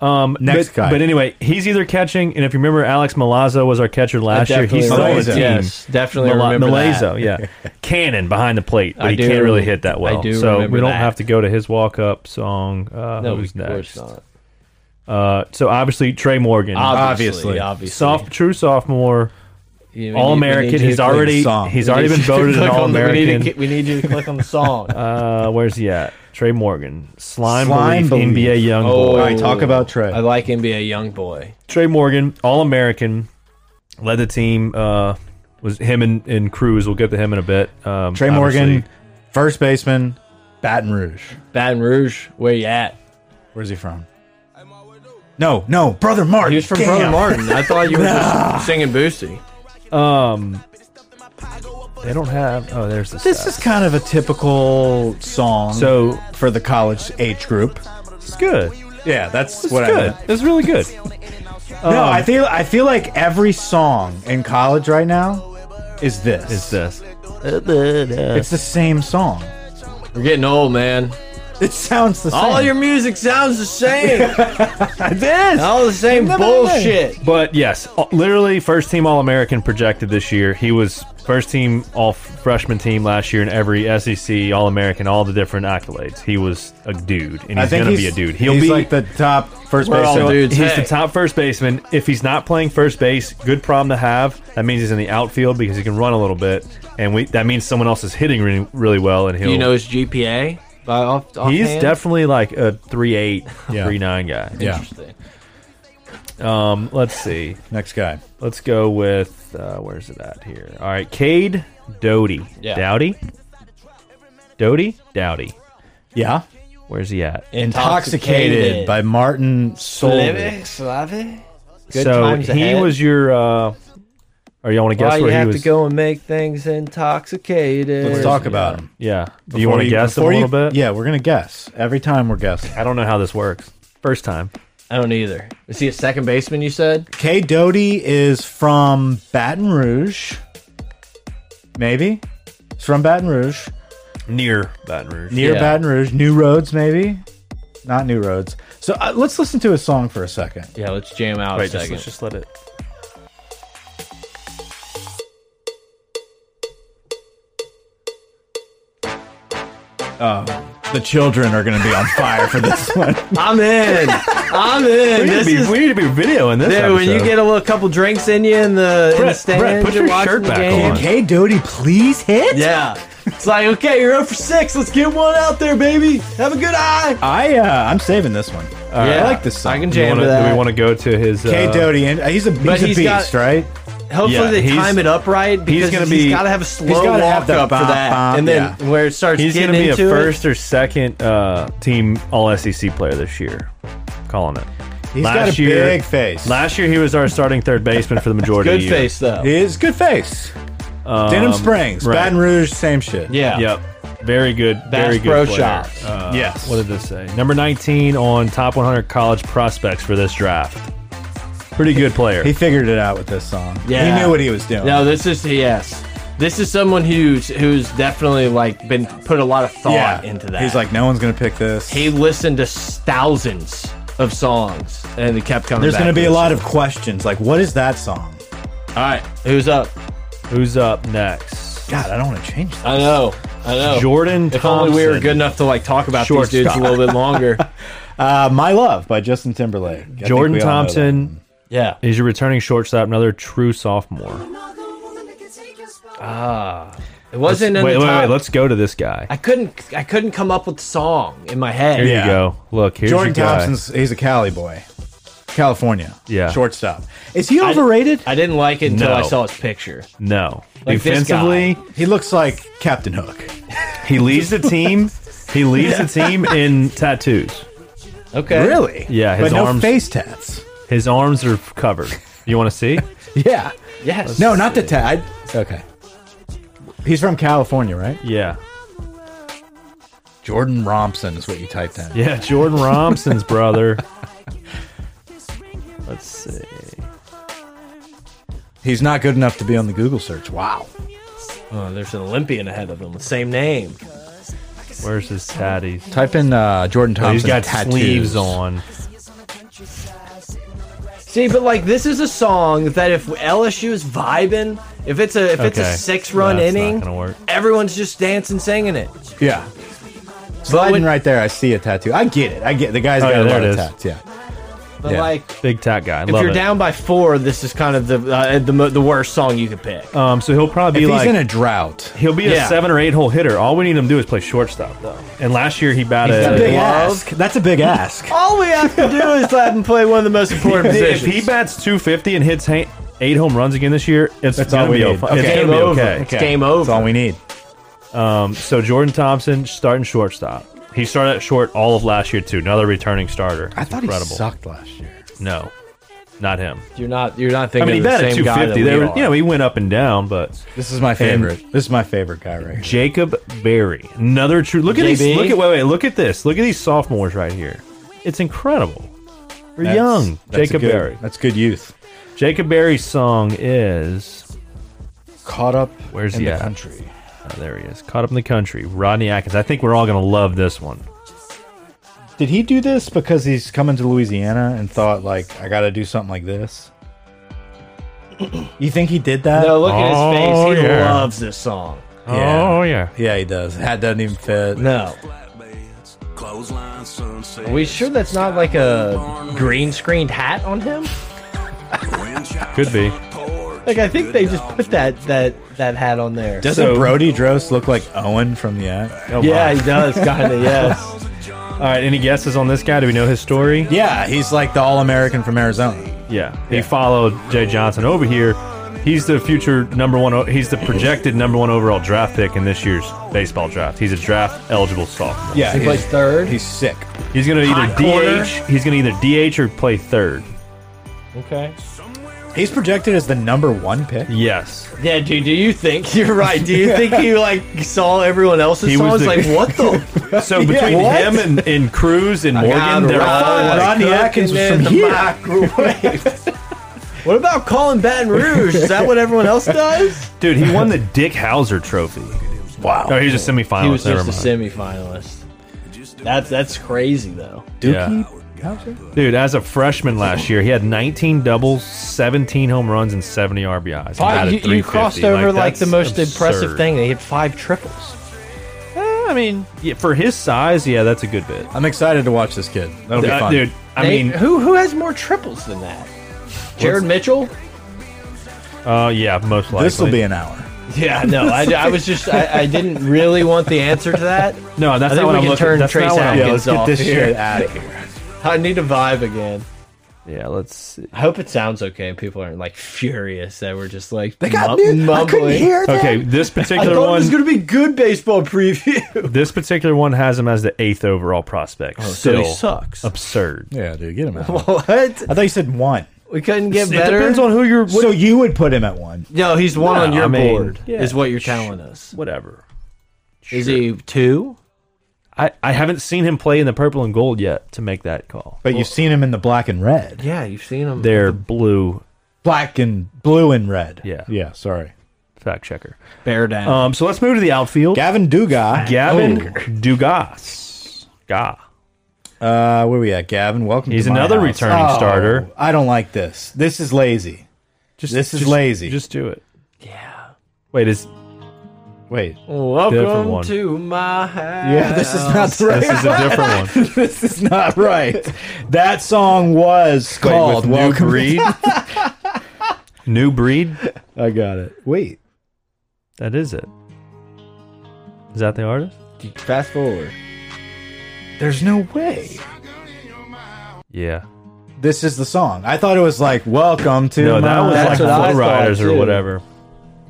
Um, Next but, guy. But anyway, he's either catching, and if you remember, Alex Milazzo was our catcher last year. definitely He's still on the remember team. that. Yes, definitely remember Milazzo, yeah, cannon behind the plate, but I he do- can't really hit that well. I do so remember we don't that. have to go to his walk-up song. Uh, No, who's of next? course not. Uh, so obviously Trey Morgan, Obviously, Obviously. obviously. soft, true sophomore, You- we need- All we need you American. to He's click- already song. he's we need already been you to voted an click All on the- we need to American. get- We need you to click on the song. Oh, Uh, where's he at? Trey Morgan, slime, Slime belief, Belief. NBA young Oh. All boy. right, talk about Trey. I like NBA young boy. Trey Morgan, All American, led the team. Uh, was him and, and Cruz. We'll get to him in a bit. Um, Trey Morgan, first baseman, Baton Rouge. Baton Rouge, where you at? Where's he from? No, no, brother Martin. He was from Damn. Brother Martin. I thought you were just singing Boosie. obviously. Um, they don't have. Oh, there's the. This is kind of a typical song so. for the college age group. It's good. Yeah, that's It's what I good. meant. It's really good. No, Um, I feel I feel like every song in college right now is this. It's this. It's the same song. We're getting old, man. It sounds the same. All your music sounds the same. this. All the same No, no, no, no. bullshit. But yes, uh, literally first team All American projected this year. He was first team All freshman team last year in every SEC All American, all the different accolades. He was a dude, and I he's think gonna he's, be a dude. He'll he's be like the top first We're all baseman. dudes. dude's he's hey. the top first baseman. If he's not playing first base, good problem to have. That means he's in the outfield because he can run a little bit, and we that means someone else is hitting really, really well, and he'll. You know his GPA? By off, he's offhand? definitely like a three eight, Yeah. three nine guy. Yeah. Interesting. Um, let's see. Next guy. Let's go with uh, where's it at here? All right, Cade Doty. Yeah. Dowdy. Doty. Dowdy. Yeah. Where's he at? Intoxicated, by Martin Solvig. Slavic? Good so times he ahead. was your. Uh, or you want to guess Why you where he have was? to go and make things intoxicated? Let's talk about him. Yeah. Do you Before want to we- guess him a before little you- bit? Yeah, we're gonna guess every time we're guessing. I don't know how this works. First time. I don't either. Is he a second baseman? You said K. Doty is from Baton Rouge. Maybe. He's from Baton Rouge. Near Baton Rouge. Near Yeah. Baton Rouge. New Roads, maybe? Not New Roads. So uh, let's listen to a song for a second. yeah. Let's jam out a Wait, just, second. let's just let it. The children are going to be on fire for this one. I'm in. I'm in. We need, to this be, is we need to be videoing this. dude. When you episode. get a little couple drinks in you in the, in the Brett, stands, Brett, put you're your watching shirt the back game. on. K. Doty, please hit. Yeah. It's like okay, you're up for six. Let's get one out there, baby. Have a good eye. I uh, I'm saving this one. Uh, yeah, I like this song. I can Do you jam wanna- to that. Do we want to go to his? K. uh, Doty, and he's a he's, But a he's beast, got- right? Hopefully Yeah, they he's- time it up right because gonna he's be- got to have a slow gotta have walk the up for bop, that, bop, and then yeah. where it starts He's going getting to be into a it. first or second uh, team All SEC player this year. Calling it. He's Last got a year- big face. Last year he was our starting third baseman for the majority good of the year. face though. He is good face. Um, Denham Springs, right. Baton Rouge, same shit. Yeah. Yep. Very good. very good Pro player. Shop. Uh, Yes. What did this say? Number 19 on top 100 college prospects for this draft. Pretty good player. He figured it out with this song. Yeah. He knew what he was doing. No, this is yes. This is someone who's who's definitely like been put a lot of thought into that. He's like, no one's gonna pick this. he listened to thousands of songs and he kept coming. There's back gonna be to a this. lot of questions. Like, what is that song? All right, who's up? Who's up next? God, I don't want to change that. I know, I know. Jordan If only we were Thompson. good enough to like talk about these dudes Shortstop. a little bit longer. Uh, My Love by Justin Timberlake. I think Jordan we all know that. Thompson yeah. is your returning shortstop, another true sophomore. It wasn't in wait, the wait, top. wait. Let's go to this guy. I couldn't I couldn't come up with the song in my head. Here Yeah. you go. Look, here's Jordan your guy. Thompson's he's a Cali boy. California. Yeah. Shortstop. Is he overrated? I didn't like it until No. I saw his picture. No. Like this Defensively, he looks like Captain Hook. he leads the team. He leads the team in tattoos. Okay. Really? Yeah, his but no arms- face tats. His arms are covered. You want to see? Yeah. Yes. No, not the tat. I- Okay. He's from California, right? Yeah. Jordan Romson is what you typed in. Yeah, Jordan Romson's brother. Let's see. He's not good enough to be on the Google search. Wow. Oh, there's an Olympian ahead of him. with Same name. Where's his tatties? Type in uh, Jordan Thompson. Oh, He's got tattoos. sleeves on. See, but like this is a song that if LSU is vibing, if it's a if it's a Okay. six run That's not inning, gonna work. everyone's just dancing singing it. Yeah. But, Sliding when- right there, I see a tattoo. I get it. I get the guy's Oh, got yeah, a there lot of it is. tats. Yeah. but Yeah. like Big tat guy. if Love you're it. down by four, this is kind of the uh, the mo- the worst song you could pick. um, so he'll probably If be he's like in a drought. he'll be a Yeah. seven or eight hole hitter. All we need him to do is play shortstop though. And last year he batted. That's a big Love. ask. That's a big ask. All we have to do is let him play one of the most important if positions. he bats 250 and hits ha- eight home runs again this year, it's That's gonna all we be need. okay. It's Okay. gonna game be over. okay. It's game over. That's all we need. So Jordan Thompson starting shortstop. He started at short all of last year too. Another returning starter. I thought Incredible. he sucked last year. No, not him. You're not you're not I thinking mean, he of the batted same guy that 250. we They were, are. you know, he went up and down, but This is my favorite. this is my favorite guy right here. Jacob Berry, another true. Look at these. JB? Look at wait, wait. Look at this. Look at these sophomores right here. It's incredible. We're That's- young. that's a Jacob good- Berry. That's good youth. Jacob Berry's song is. Caught up Where's in he the at? country. Oh, there he is. Caught up in the country. Rodney Atkins. I think we're all gonna love this one. Did he do this because he's coming to Louisiana and thought like I got to do something like this? You think he did that? no, look at Oh, his face. He yeah. loves this song. Yeah. Oh yeah. Yeah, he does. Hat doesn't even fit. No. Are we sure that's not like a green screened hat on him? Could be. Like I think they just put that that that hat on there. Doesn't So- Brody Drost look like Owen from the act? Oh, yeah, my. he does. Kind of. Yes. All right. Any guesses on this guy? Do we know his story? Yeah, he's like the All-American from Arizona. Yeah, he followed Jay Johnson over here. He's the future number one. o- He's the projected number one overall draft pick in this year's baseball draft. He's a draft eligible sophomore. Yeah, He he's, plays third. he's sick. he's going to either Hot corner. DH. He's going to either DH or play third. okay. He's projected as the number one pick. Yes, Yeah, dude. Do you think you're right? Do you think he like saw everyone else's He was songs? the- like what the? so between what? him and, and Cruz and God, Morgan, they're all Rod- like, Rodney cooking Atkins was in from the here. microwave. what about Colin Baton Rouge? Is that what everyone else does? dude. He won the Dick Hauser Trophy. Wow. No, he was a semifinalist. He was Oh, Never just a mind. semifinalist. That's that's crazy though. Dookie Howser? Dude, as a freshman last year, he had 19 doubles, 17 home runs, and 70 RBIs. He batted you, you crossed 350. over like, the that's most impressive absurd. thing. They hit five triples. Eh, I mean, yeah, for his size, yeah, that's a good bit. I'm excited to watch this kid. That'll be Uh, fun. dude, I They- mean, who who has more triples than that? Jared Mitchell? uh, yeah, most likely. this will be an hour. Yeah, no, I, I was just I, I didn't really want the answer to that. no. That's I not think what we I'm can looking. turn That's Trace not what I'm Atkins looking. Let's get this shit out of here. I need a vibe again. Yeah, let's. See. I hope it sounds okay and people aren't like furious that we're just like they God, dude, I couldn't hear that. Okay, this I particular thought it was one, gonna be good baseball preview. this particular one has him as the eighth overall prospect. Oh, so he Still sucks. absurd. Yeah, dude, get him out. what? I thought you said one. We couldn't get It better. depends on who you're. What, So you would put him at one. no, he's one No, on your I mean, board. yeah. Is what you're telling us. whatever. Is he two? I, I haven't seen him play in the purple and gold yet to make that call. But you've seen him in the black and red. Yeah, you've seen him. They're blue Black and blue and red. Yeah. Yeah, sorry. fact checker. bear down. Um, so let's move to the outfield. Gavin Dugas. Gavin Dugas. Ga. Uh, where we at, Gavin? Welcome He's to my another house. Oh, returning starter. I don't like this. This is lazy. Just This is just- lazy. Just do it. yeah. Wait, is Wait. Welcome one. to my house. Yeah, this is not the right this is a different one? this is not right. That song was called Wait, with new Welcome. breed. new breed. I got it. Wait. That is it. Is that the artist? fast forward. There's no way. Yeah. This is the song. I thought it was like Welcome to No, my that was That's like what I Flow thought, Riders or too. whatever.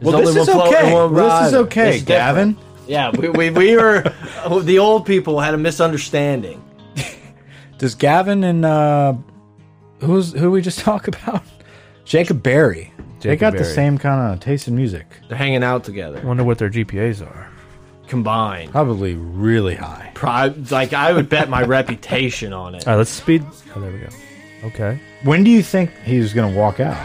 Well, There's this only one is, float and okay. one this is rider. okay. It's Gavin. Yeah, we, we, we were oh, the old people had a misunderstanding. Does Gavin and uh who's who we just talk about? Jacob Berry. they Jacob got the Berry. same kind of taste in music. They're hanging out together, Wonder what their GPAs are. combined. Probably really high. Pri like I would bet my reputation on it. All right, let's speed. Oh, there we go. Okay. When do you think he's gonna walk out?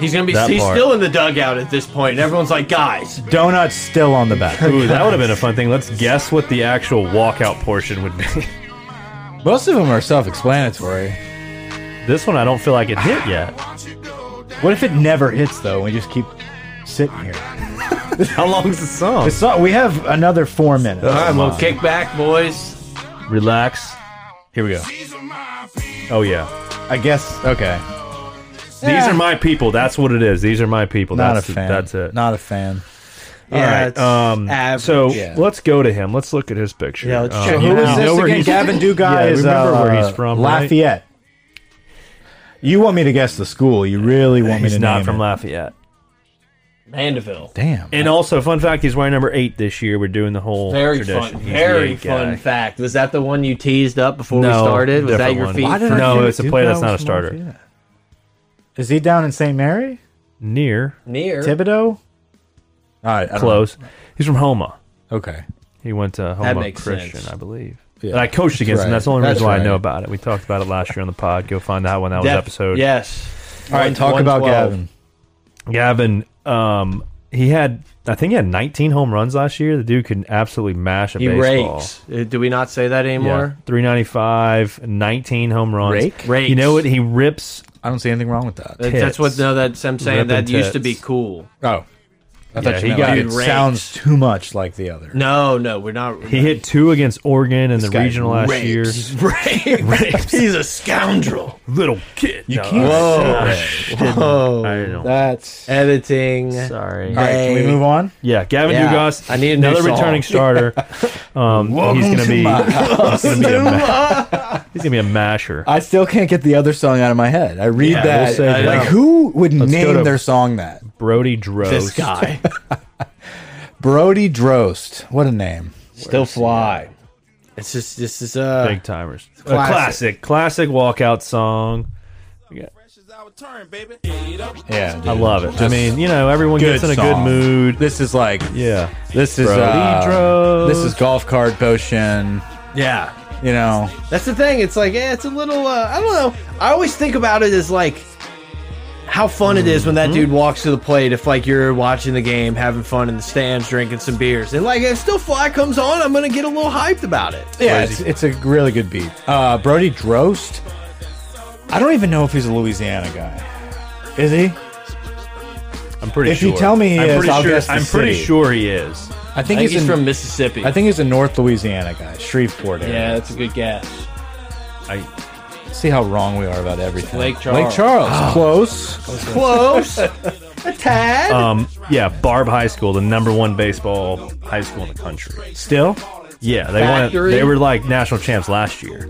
He's gonna be. That He's part. still in the dugout at this point, and everyone's like, "Guys, Donuts still on the back. Ooh, that would have been a fun thing. Let's guess what the actual walkout portion would be. Most of them are self-explanatory. this one, I don't feel like it hit yet. What if it never hits though? We just keep sitting here. How long is the song? It's not- we have another four minutes. all right, well, kick back, boys." Relax. Here we go. Oh yeah. I guess. Okay. These are my people. That's what it is. These are my people. Not that's a fan. That's it. Not a fan. All right. All right. Um, so Yeah. let's go to him. Let's look at his picture. Yeah, let's Um, check you him know- out. you know where he's- Gavin Dugas Yeah, is remember uh, where he's from, right? Lafayette. You want me to guess the school? You really want me He's to? not name from it. Lafayette. Mandeville. Damn. And also, fun fact: he's wearing number eight this year. We're doing the whole Very tradition. fun. He's the Very eight fun guy. fact. Was that the one you teased up before we No, started? Was that different your one. feed? Why for- No, think it's a player that's Dugas not a was from starter. Lafayette? Is he down in St. Mary? Near near? Thibodeau. All right. I don't Er. close. He's from Homa. know. Okay. He went to Homa makes Christian, sense. I believe. Yeah. And I coached against him. right. That's the only That's reason why I know right. about it. We talked about it last year on the pod. Go find that one. That was Def- episode. Yes. All right. Talk about Gavin. Gavin, um, he had I think he had 19 home runs last year. The dude could absolutely mash a He baseball. rakes. Uh, Do we not say that Yeah, anymore? 395, 19 home runs. Rake? Rakes. You know what? He rips. I don't see anything wrong with that. That- That's what. Tits. No, that's I'm saying. Ripping that used to be tits. cool. Oh. I Yeah, thought he you meant got like it it ranked. sounds too much like the other. No, no, we're not. He hit two against Oregon in the guy regional last rakes. year. Rapes. He's a scoundrel. Little kid. You No, can't. Whoa. I don't. know. That's. All Oh. Editing. Sorry. right. Can we move on? Yeah, Gavin Yeah. Dugas. I need a new another song. returning starter. Um, he's gonna be. he's gonna be a ma- He's gonna be a masher. I still can't get the other song out of my head. I read Yeah, that. we'll say like, that. who would go to- name their song that? Brody Drost. This guy Brody Drost. What a name. still fly. It's just this is uh Big timers. A Classic. Classic. classic walkout song. Yeah. I love it. I mean, you know, everyone good gets in a song. good mood. This is like. Yeah. This is. Brody Uh, Drost. this is golf cart potion. yeah. You know. That's the thing. It's like, yeah, it's a little. Uh, I don't know. I always think about it as like how fun it is when that dude walks to the plate. If like you're watching the game, having fun in the stands, drinking some beers, and like if still fly comes on, I'm gonna get a little hyped about it. Yeah. It's, it's a really good beat. Uh, Brody Drost. I don't even know if he's a Louisiana guy. Is he? I'm pretty If sure. you tell me he I'm is, pretty I'll sure, guess the I'm pretty city. sure he I is. think, I think he's, he's in- from Mississippi. I think he's a North Louisiana guy, Shreveport area. Yeah, that's a good guess. I, See how wrong we are about everything. Lake Charles. Lake Charles. Close. Close. a tad. um, yeah, Barb High School, the number one baseball high school in the country. Still? Yeah, they won. Factory. They were like national champs last year.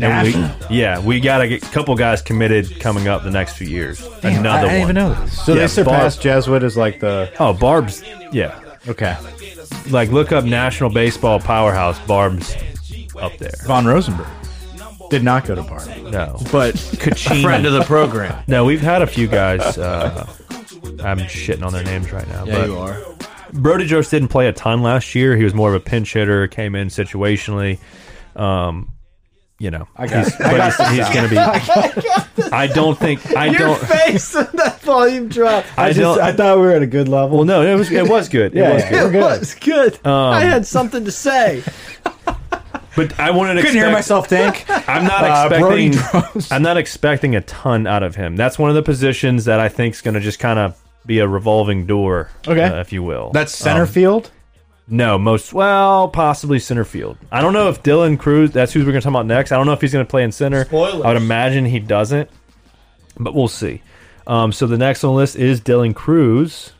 And we- yeah, we got a g- couple guys committed coming up the next few years. I, I Another didn't one. even know this. So Yeah, they surpassed Barb- Jesuit as like the. Oh, Barb's. Yeah, Okay. like look up national baseball powerhouse. Barb's up there. Von Rosenberg did not go to Barb. No, but Kachina. friend of the program. No, we've had a few guys. Uh, I'm shitting on their names right now, but are. Brody Jost didn't play a ton last year. He was more of a pinch hitter, came in situationally. Um, you know, I got he's, it. I got but he's, he's going to be. I don't think. I Your don't. face in that volume drop. I, I, don't. just, I thought we were at a good level. well, no, it was it was good. Yeah, it was yeah. good. We're It good. was good. Um, I had something to say. But I wanted to couldn't hear expect- myself think. I'm not Uh, Brody expecting. I'm not expecting a ton out of him. That's one of the positions that I think is going to just kind of be a revolving door, Okay. uh, if you will. That's center field. no most well possibly center field. I don't know if Dylan Cruz. That's who we're going to talk about next. I don't know if he's going to play in center. Spoilers. I would imagine he doesn't, but we'll see. Um, so the next on the list is Dylan Cruz.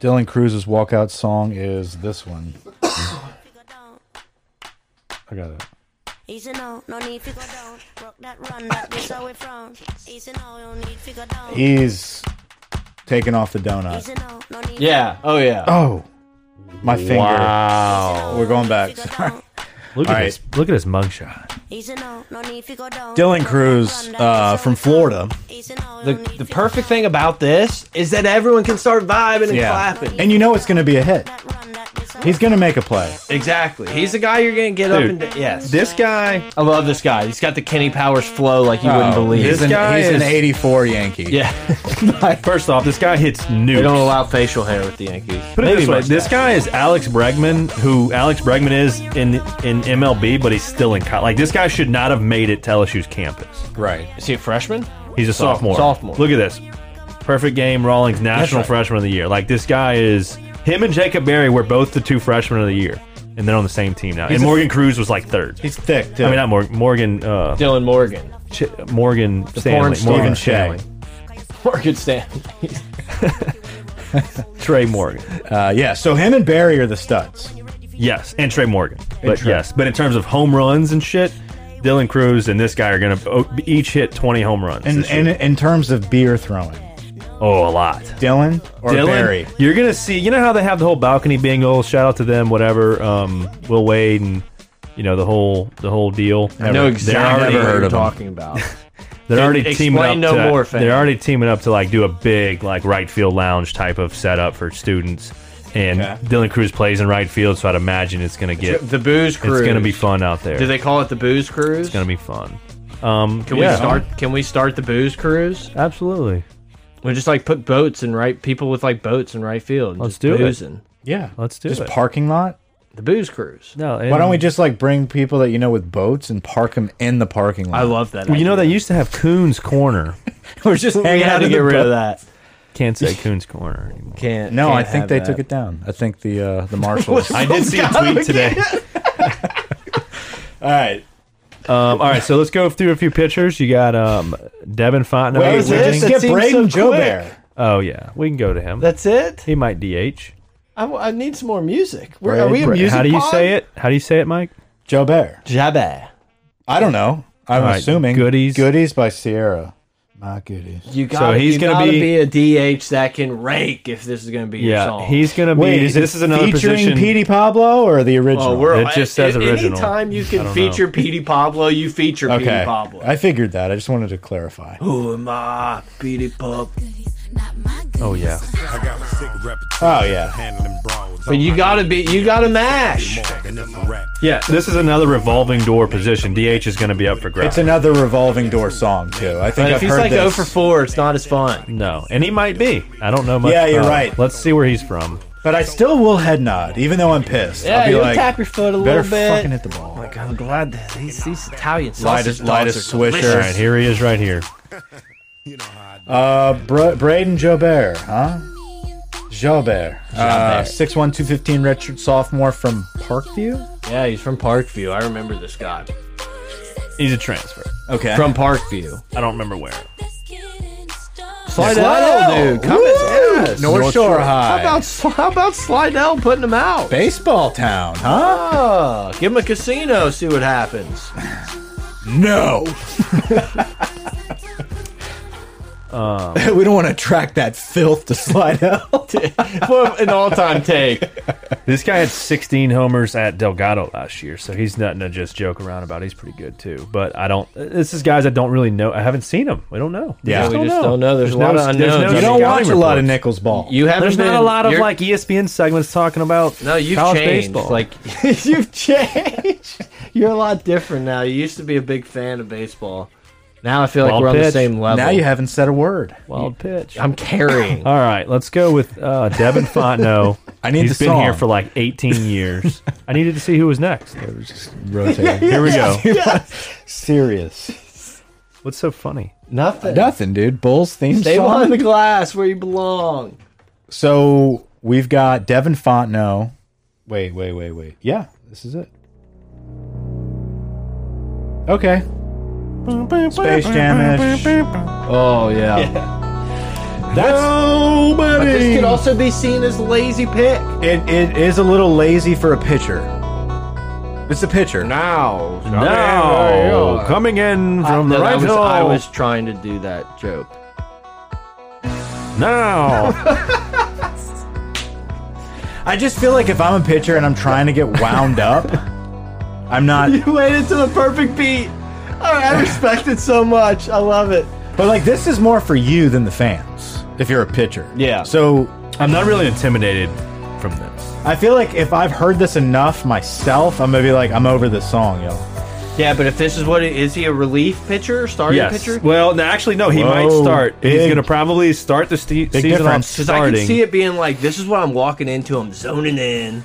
Dylan Cruz's walkout song is this one. figure down. I got it. Easy now, no need figure down. Rock that run, that this away from. Easy now, no need figure down. He's taking off the donut. Easy now, no need. Yeah. Oh yeah. Oh, my finger. Wow! Oh, We're going back. Figure Sorry. down. Look All at right. his look at his mugshot. Easy now, no need figure down. Dylan Cruz uh, from Florida, The, the perfect thing about this is that everyone can start vibing and Yeah. clapping. and you know it's going to be a hit. He's going to make a play. Exactly. He's the guy you're gonna get up Dude. and d- yes. This guy, I love this guy. He's got the Kenny Powers flow like you wouldn't Oh, believe. He's, This an, guy he's an is- '84 Yankee. yeah. first off, this guy hits nukes. They don't allow facial hair with the Yankees. Put it Maybe this way: mustache. this guy is Alex Bregman, who Alex Bregman is in in MLB, but he's still in college. Like this guy should not have made it to LSU's campus. right. is he a freshman? He's a sophomore. sophomore. Look at this, perfect game. Rawlings, national right. freshman of the year. Like this guy is him and Jacob Berry were both the two freshmen of the year, and they're on the same team now. and a- Morgan Cruz was like third. He's thick too. I mean, not Morgan. Morgan. Uh, Dylan Morgan. Ch- Morgan porn Stanley. star. Stephen Morgan Shea. Stanley. Morgan Stan. Trey Morgan. Uh, yeah. So him and Barry are the studs. Yes, and Trey Morgan. But Trey. yes, but in terms of home runs and shit, Dylan Cruz and this guy are gonna o- each hit twenty home runs. And this in, year. in terms of beer throwing, oh, a lot. Dylan or Dylan, Barry. you're gonna see. You know how they have the whole balcony bingo. Shout out to them. Whatever. Um, Will Wade and you know the whole the whole deal. I know They're exactly already- what heard you're of him. talking about. They're already Explain teaming up. no to, more, fam. They're already teaming up to like do a big like right field lounge type of setup for students. And Okay. Dylan Cruz plays in right field, so I'd imagine it's gonna get the booze cruise. it's gonna be fun out there. Do they call it the booze cruise? It's gonna be fun. Um, Can we start? Can we start the booze cruise? Absolutely. We just like put boats and right people with like boats in right field. and Let's just do it. boozing. Yeah. Let's do just it. parking lot. The booze cruise. No. Why don't we just like bring people that you know with boats and park them in the parking lot? I love that. Well, you know they idea. used to have Coon's Corner. We're just we hanging had out to in get the rid of boat. that. Can't say Coon's Corner anymore. Can't. No, can't I think have they that. took it down. I think the uh, the marshals. I did see a tweet today. All right. Um, all right, so let's go through a few pictures. You got um, Devin Fontenot. Wait, we was it? just That skipped seems Braden so quick. Joubert. Oh yeah, we can go to him. That's it. he might DH. I, I need some more music. Where, Brad- are we a Brad- music? How do you say it? How do you say it, Mike? Joubert. Jabba. I don't know. I'm All right, assuming Goodies. Goodies by Sierra. My goodies. You got. he's you gonna gotta be- a DH that can rake if this is gonna be your Yeah, song. he's gonna be. Wait, is this it is another featuring position. Petey Pablo or the original? Oh, we're, It just says a- original. Anytime you I can don't feature Petey Pablo, you feature okay. Petey Pablo. I figured that. I just wanted to clarify. Who am I, Petey Pablo? oh yeah, I got a sick Oh, reputation yeah. for handling brawls. But you gotta be. You gotta mash. And if I rap, yeah. This is another revolving door position. DH is gonna be up for grabs. It's another revolving door song too. I But think I've if he's heard like this. 0 for 4, it's not as fun. no, and he might be. I don't know much. Yeah, you're about him. right. Let's see where he's from. But I still will head nod, even though I'm pissed. I'll be like, your foot a better fucking hit the ball. Like, I'm glad that these, these Italian Lightest, sausage lightest dogs are swisher. All right, here he is, right here. you know how I Uh, Bra- Braden Jobert, huh? Jobert. Uh, 6'1", 215, redshirt sophomore from Parkview. Yeah, he's from Parkview. I remember this guy. He's a transfer. Okay. From Parkview. I don't remember where. Slidell, dude. Come and- North, Shore, High. How about, Sl- how about Slidell putting him out? baseball town, huh? Ah, give him a casino, see what happens. No. we don't want to track that filth to slide out. an all-time take. This guy had 16 homers at Delgado last year, so he's nothing to just joke around about. He's pretty good too. But I don't. uh, This is guys I don't really know. I haven't seen him. We don't know. Yeah. we just don't know. There's a lot of there's unknowns. no you don't scouting watch a lot of reports. Nichols ball. You haven't There's been, not a lot of you're- like E ESPN segments talking about No, you've college changed. baseball. Like you've changed. You're a lot different now. You used to be a big fan of baseball. Now I feel like Wild we're on the pitch. same level. now you haven't said a word. wild pitch. I'm carrying. All right, let's go with uh, Devin Fontenot. I need He's the been here song. for like 18 years. I needed to see who was next. Rotating. Here we go. Serious. What's so funny? Nothing. Nothing, dude. Bulls theme Stay song. behind the glass where you belong. So we've got Devin Fontenot. Wait, wait, wait, wait. Yeah, this is it. Okay. Space Jamish. Oh yeah. That's But this nobody. could also be seen as lazy pick. It, it is a little lazy for a pitcher. It's a pitcher. Now, Now, coming in from the I right was, hill. I was trying to do that joke. now. I just feel like if I'm a pitcher and I'm trying to get wound up, I'm not. You waited to the perfect beat. I, I respect it so much. I love it. But like, this is more for you than the fans. If you're a pitcher, Yeah. So I'm not really intimidated from this. I feel like if I've heard this enough myself, I'm gonna be like, I'm over this song, yo. Yeah, but if this is what it is, he a relief pitcher, starting Yes. pitcher? Well, no, actually, no. He might Whoa, start. He's big- going to probably start the ste season off difference. Because I starting. can see it being like, this is what I'm walking into. I'm zoning in.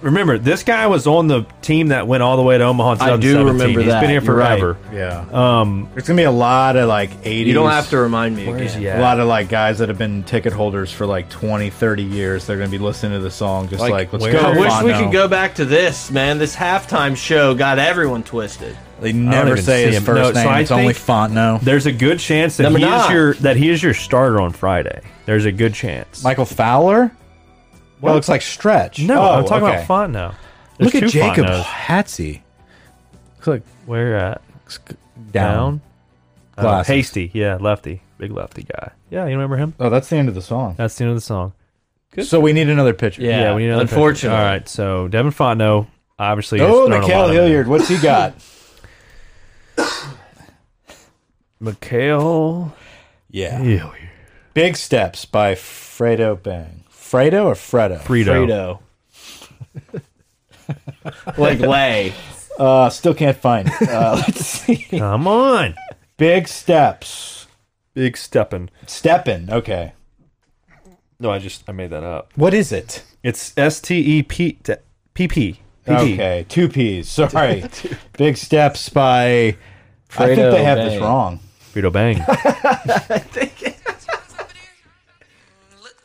Remember, this guy was on the team that went all the way to Omaha. In I do 2017. remember He's that. been here You're right. forever. Yeah. Um, There's gonna be a lot of like 80s. You don't have to remind me again. he at? A lot of like guys that have been ticket holders for like 20, 30 years. They're gonna be listening to the song, just like, let's where- go. I wish we Fono. could go back to this, man. This halftime show got everyone twisted. They I don't never even say see his him. first No, so name. I it's only think- Fontenot. there's a good chance that Number he is nine. your that he is your starter on Friday. There's a good chance. Michael Fowler. Well, looks like Stretch. no, Oh, I'm talking okay. about Font now. Look at two Jacob Fontenot's. Hatsy. Click Where at? down. Down. Uh, Glasses. hasty. Yeah, lefty. Big lefty guy. Yeah, you remember him? Oh, that's the end of the song. That's the end of the song. So we need another pitcher. Yeah, we need another pitcher. unfortunately. All right, so Devin Fontenot, obviously. has Oh, thrown a lot Mikhail of them. Hilliard. What's he got? Mikhail yeah. Hilliard. Mm-hmm. Big Steps by Fredo Bang. Fredo or Fredo? Frito. Fredo. like Lay. Uh, still can't find it. Uh, let's see. Come on. Big Steps. Big steppin'. Steppin'. Okay. No, I just I made that up. What is it? It's S T E P P P P. Okay. Two P's. Sorry. Big Steps by. I think Fredo they have this Bang. wrong. Frito Bang. look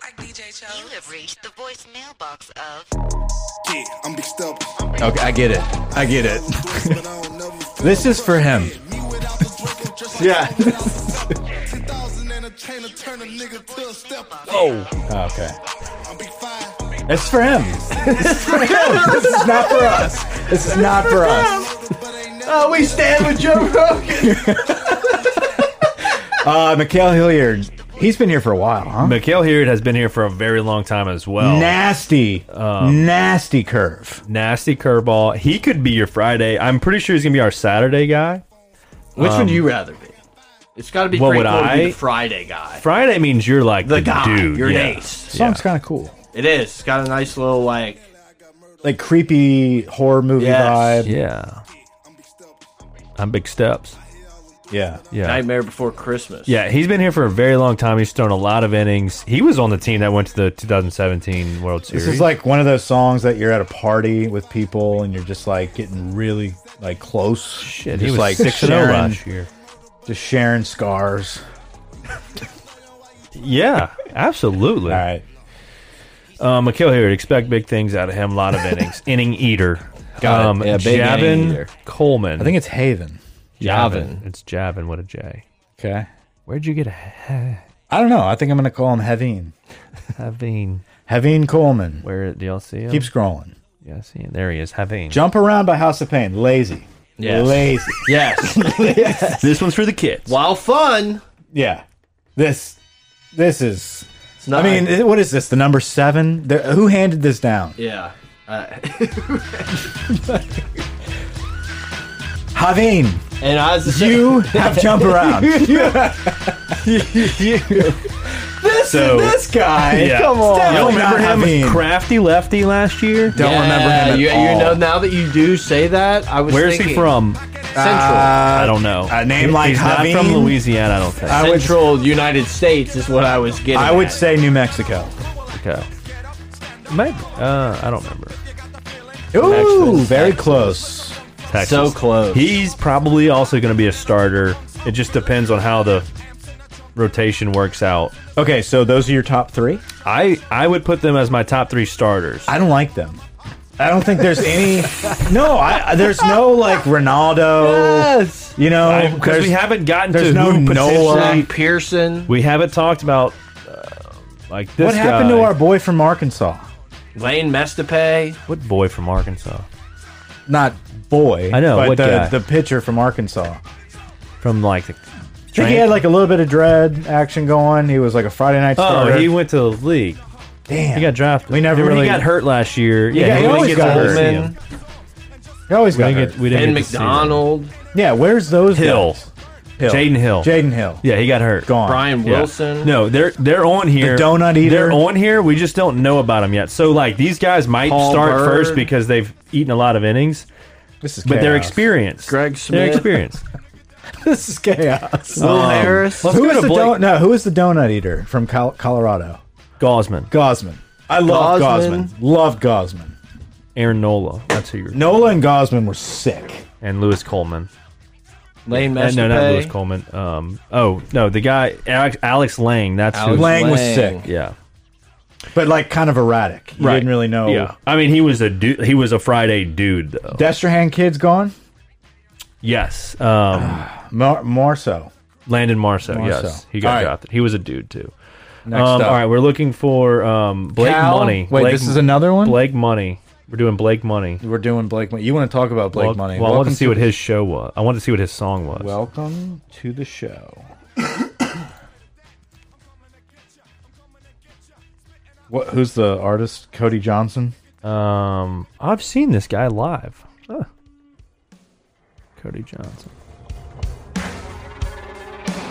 like DJ Chose. You have reached the voicemail box of Yeah, I'm big step. Okay, I get it. I get it. This is for him. yeah. Okay. It's for him. It's for him. This is not for us. This is not for us. Oh, we stand with Joe Rogan. Uh, Mikhail Hilliard. He's been here for a while, huh? Mikhail Hilliard has been here for a very long time as well. Nasty, nasty curve. Nasty curveball. He could be your Friday. I'm pretty sure he's gonna be our Saturday guy. Which would you rather be? It's got to be Um, what pretty would cool to be I- the Friday guy. Friday means you're like the, The guy. dude. You're yeah. an ace. Song's kind of cool. It is. It's got a nice little like. Like creepy horror movie Yes. vibe. Yeah. I'm big steps. Yeah. Yeah. Nightmare Before Christmas. yeah, he's been here for a very long time. He's thrown a lot of innings. He was on the team that went to the 2017 World Series. This is like one of those songs that you're at a party with people and you're just like getting really like close. Shit, just he was like six and oh sharing, last year. just sharing scars. Yeah, absolutely. All right. Um, Mikhail Hilliard, expect big things out of him. A lot of innings. inning eater. Got it. um, Yeah, big Javin inning eater. Coleman. I think it's Haven. Javin. It's Javin. What a J. Okay. Where'd you get a I don't know. I think I'm gonna call him Haveen. Haveen? Haveen Coleman. Where do y'all see him? Keep scrolling. yeah, I see him. There he is. Haveen. Jump around by House of Pain. Lazy. Yes. Lazy. Yes. This one's for the kids. While fun, Yeah. This, this is. It's not. I mean, it- what is this? The number seven? The, who handed this down? yeah. Uh, Javine, and I was you have jump around. this So- this guy. Yeah. Come on. Step- Y'all Definitely not remember him? Javine. Crafty Lefty last year. Don't remember him at you, all. You know, now that you do say that, I was. Where's he thinking from? Uh, Central. I don't know. Uh, a name like Uh, He's not from Javine? Louisiana. I don't think. I would, Central United States is what I was getting. I would at. say New Mexico. okay. Maybe. Uh, I don't remember. Ooh, Texas. very close. Texas. so close. He's probably also going to be a starter. It just depends on how the rotation works out. Okay, so those are your top three. I I would put them as my top three starters. I don't like them. I don't think there's any. no, I, there's no like Ronaldo. yes. You know, Because we haven't gotten there's to no who Noah. potentially- Zach Pearson, We haven't talked about uh, like this. what happened to guy. our boy from Arkansas? Lane Mestapay. what boy from Arkansas? Not boy. I know, but what the guy? the pitcher from Arkansas. From like the I think he had like a little bit of dread action going. He was like a Friday night starter. Oh, he went to the league. Damn, He got drafted. We never Remember really- he got hurt last year. got- Yeah, he we didn't always get got to hurt. see him. Coleman, He always We got didn't hurt. get. We didn't Ben get to see him. McDonald, yeah, where's those Hill. guys? Jaden Hill. Jaden Hill. Yeah, he got hurt. gone. Brian Yeah. Wilson. No, they're they're on here. The donut eater. They're on here. We just don't know about them yet. So like these guys might Paul start Bird. first because they've eaten a lot of innings, This is but chaos. they're experienced. Greg They're Smith. experienced. This is chaos. Will um, Harris. Let's Who go is to the Blake donut? No, who is the donut eater from Col- Colorado? Gosman, Gosman. I love Gosman. Gosman. Loved Gosman. Aaron Nola. That's who you're. Nola and Gosman were sick. And Lewis Coleman. Lane Uh, Mestapay. no, not Lewis Coleman. Um. Oh no, the guy Alex, Alex Lang. That's Alex who. Lang, was Lang. sick, Yeah. but like kind of erratic. You didn't really know. Yeah. I mean, he was a dude. He was a Friday dude though. Destrehan kid's gone. yes. Um. More, more so. Landon Marceau. Yes. Marceau. He got All right. drafted. He was a dude too. Next um, up. All right, we're looking for um, Blake Cal- Money. Wait, Blake- this is another one. Blake Money. We're doing Blake Money. We're doing Blake. Money. You want to talk about Blake well, Money? Well, I want welcome to see what his show was. I want to see what his song was. Welcome to the show. what? Who's the artist? Cody Johnson. um, I've seen this guy live. Huh. Cody Johnson.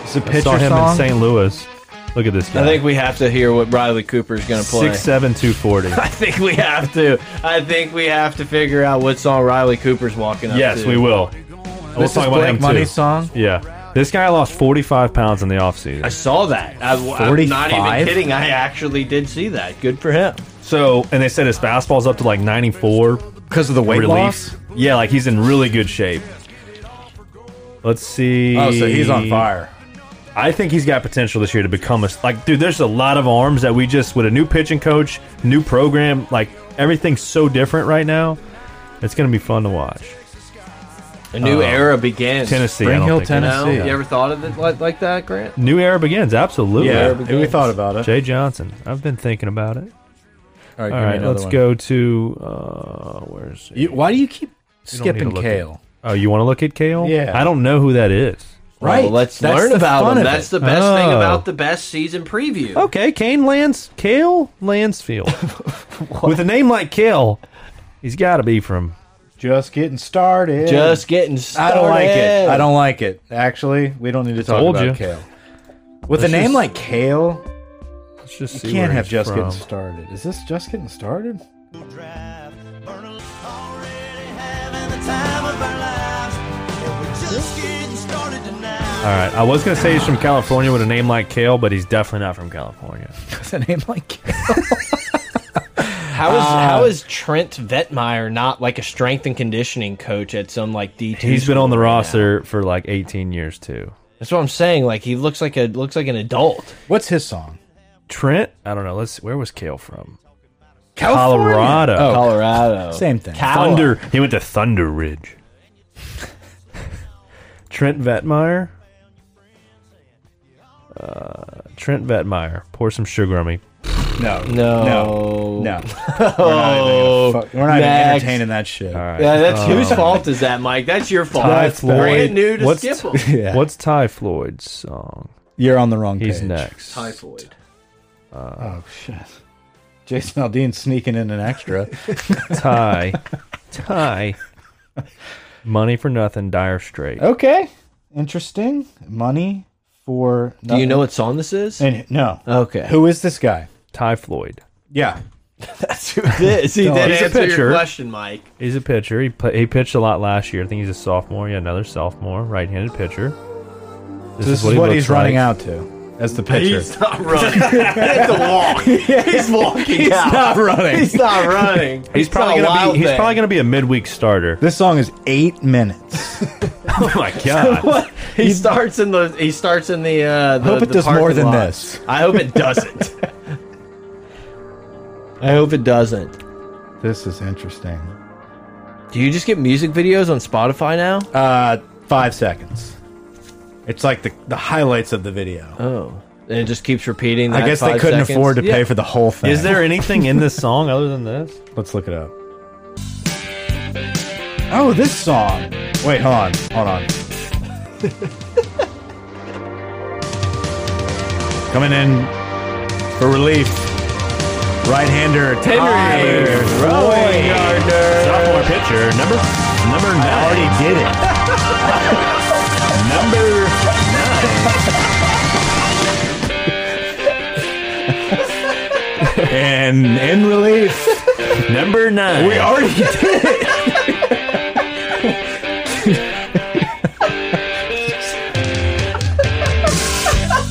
It's a I saw pitcher him song. in St. Louis. Look at this guy. I think we have to hear what Bradley Cooper's going to play. six seven two forty. I think we have to. I think we have to figure out what song Riley Cooper's walking up yes, to. we will. we'll this talk is about him Blake Money's too. song. Yeah, this guy lost forty five pounds in the I offseason. saw that. I, am not 45? even kidding. I actually did see that. Good for him. So, and they said his fastball's up to like ninety four. Because of the weight Relief. loss. Yeah, like he's in really good shape. Let's see. Oh, so he's on fire. I think he's got potential this year to become a like, dude. There's a lot of arms that we just with a new pitching coach, new program, like everything's so different right now. It's gonna be fun to watch. A new era begins. Tennessee, I Spring don't Hill, think- You, know? Uh, Tennessee. you ever thought of it like, like that, Grant? New era begins. Absolutely. Yeah, begins. we thought about it. Jay Johnson. I've been thinking about it. All right, All right, let's go to uh, where's You, why do you keep need skipping to look Kale? oh you want to look at Kale? Yeah. I don't know who that is. Right. Well, let's That's learn the about fun him. of That's the it. best thing Oh. about the best season preview. Okay, Kane Lance Kale Lansfield. With a name like Kale, he's got to be from Just getting started. Just getting started. I don't like it. I don't like it. Actually, we don't need to talk Told about you. Kale. With Let's a name just- like Kale, Let's just see. you can't where have he's just from. getting started. Is this just getting started? All right, I was gonna say he's from California with a name like Kale, but he's definitely not from California. With a name like Kale. How is Ah. how is Trent Vetmeyer not like a strength and conditioning coach at some like D two? He's been on the school right now? roster for like 18 years too. That's what I'm saying. Like he looks like a looks like an adult. What's his song? Trent, I don't know. Let's see, where was Kale from? California. Colorado. Oh, Colorado. Same thing. Cal- Thunder. He went to Thunder Ridge. Trent Vetmeyer. Uh, Trent Vetmeyer. Pour some sugar on me. No. No. No. No. We're not even, gonna fuck- we're not even Next. entertaining that shit. All right. Yeah, that's Uh, whose fault is that, Mike? That's your fault. Ty That's Floyd. brand new to What's skip 'em. Yeah. What's Ty Floyd's song? You're on the wrong page. He's next. Typhoid. Oh shit. Jason Aldean sneaking in an extra. Tie. Tie. Money for nothing, dire straight. okay. Interesting. Money for Do you nothing. know what song this is? and no. Okay. Who is this guy? Ty Floyd. Yeah. That's who it is. He did he's a answer your pitcher. question, Mike. He's a pitcher. He pla he pitched a lot last year. I think he's a sophomore. Yeah, another sophomore, right-handed pitcher. This, is, what, he's he looks like. running out to as the pitcher. He's not running. it's a walk. He's walking He's out. not running. He's not running. He's probably gonna be. He's probably gonna be a midweek starter. this song is eight minutes. oh my god! What? He starts in the. He starts in the. Uh, the hope it the does more parking than lot. this. I hope it doesn't. I hope it doesn't. This is interesting. Do you just get music videos on Spotify now? Uh, five seconds. It's like the, the highlights of the video. Oh, and it just keeps repeating. That I guess they Uh, five couldn't seconds? afford to pay Yeah. for the whole thing. Is there anything in this song other than this? Let's look it up. Oh, this song. Wait, hold on. Hold on. Coming in for relief. Right-hander Ty Roy Sophomore pitcher, number number I nine. already did it. Number nine. And in relief, Number nine. we already did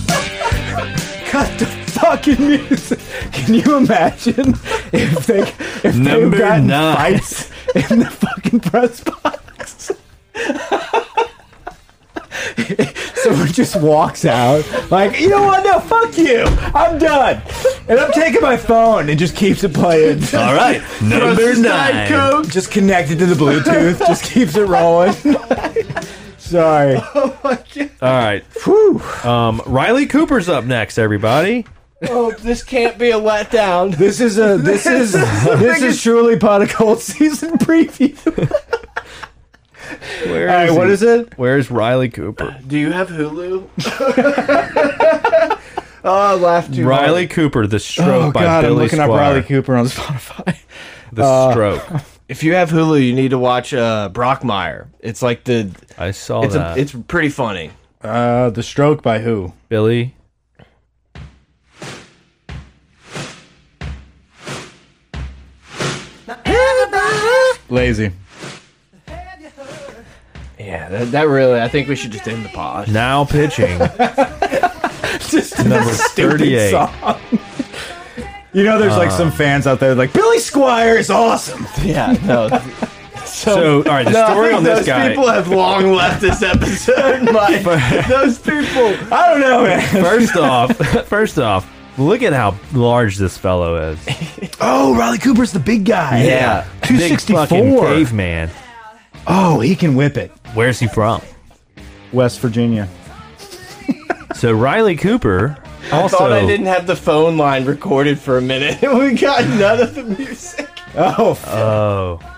it. Cut the fucking music. Can you imagine if they if Number they've gotten nine. fights in the fucking press box? Someone just walks out like, you know what? No, fuck you. I'm done. And I'm taking my phone and just keeps it playing. All right. Number nine. Just connected to the Bluetooth. just keeps it rolling. Sorry. All right. Um, Riley Cooper's up next, everybody. Oh, this can't be a letdown. This is a this is this is truly pot of cold season preview. Where All right, what he? is it? Where's Riley Cooper? Do you have Hulu? oh, I laughed too hard. Riley Cooper, The Stroke by Oh, I'm Billy looking Squire. up Riley Cooper Uh, on Spotify. The Stroke. If you have Hulu, you need to watch uh, Brockmire. It's like the. I saw It's a, that. it's pretty funny. Uh, the Stroke by who? Billy. Lazy. Yeah, that, that really. I think we should just end the pod. Now pitching. Just Number 38. song. you know, there's like some fans out there like Billy Squire is awesome. Yeah, no. So, all right, the No, I story think on this those guy. people have long left this episode, Mike. those people. I don't know, man. First off, first off, look at how large this fellow is. Oh, Riley Cooper's the big guy. Big fucking 264. caveman. Oh, he can whip it. Where's he from? West Virginia. So Riley Cooper also I thought I didn't have the phone line recorded for a minute. we got none of the music. Oh, f- Oh.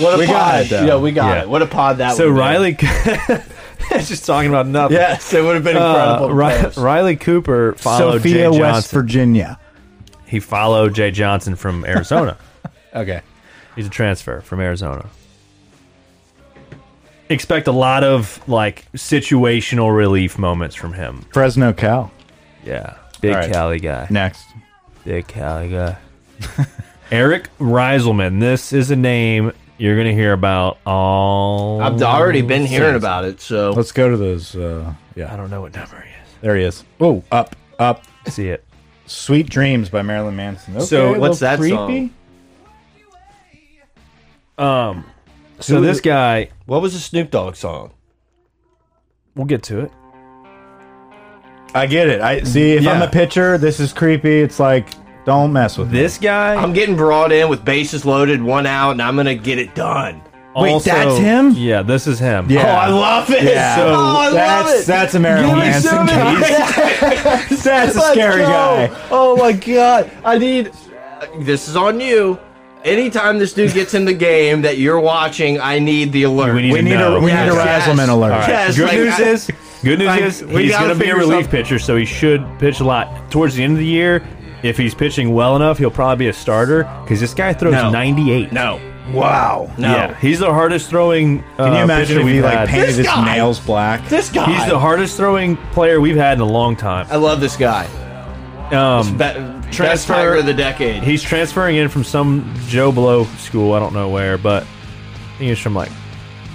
What a We pod. got it, though. yeah, we got Yeah. it. What a pod that So would be. Riley just talking about nothing. Yes, it would have been Uh, incredible. Ri- post. Riley Cooper followed Sophia, Jay West Johnson. Virginia. he followed Jay Johnson from Arizona. Okay. He's a transfer from Arizona. Expect a lot of like situational relief moments from him. Fresno Cal. Yeah, big All right. Cali guy. Next. Big Cali guy. Eric Reiselman. This is a name you're gonna hear about all. I've already been hearing about it, so Let's go to those. Uh, yeah. I don't know what number he There he is. Oh, up, up. is. See it. Sweet Dreams by Marilyn Manson. Okay, So, a what's little that song? Um. So Who- this guy, what was the Snoop Dogg song? we'll get to it. I get it. I see. If I'm Yeah. a pitcher, this is creepy. It's like, don't mess with This guy. I'm getting brought in with bases loaded, one out, and I'm gonna get it done. wait, also- that's him? Yeah, this is him. Yeah. Oh, I love it. me. Yeah. oh, I that's love it. that's a Marilyn Give me Manson some of case. that. That's a Let's scary go. guy. Oh my god. I need this is on you. Anytime this dude gets in the game that you're watching, I need the alert. We need We to need know. a we need a Yes. razzlement alert. Yes, Good like, news I- is Good news Like, is we he's gotta going to be a figure relief something- pitcher, so he should pitch a lot towards the end of the year. If he's pitching well enough, he'll probably be a starter because this guy throws No. 98. No, Wow. no. Yeah, he's the hardest throwing. Uh, Can you imagine pitcher if we've he like had. painted This his guy! nails black? This guy. He's the hardest throwing player we've had in a long time. I love this guy. Um, Be- best Transfer- player of the decade. he's transferring in from some Joe Blow school. I don't know where, but he was from like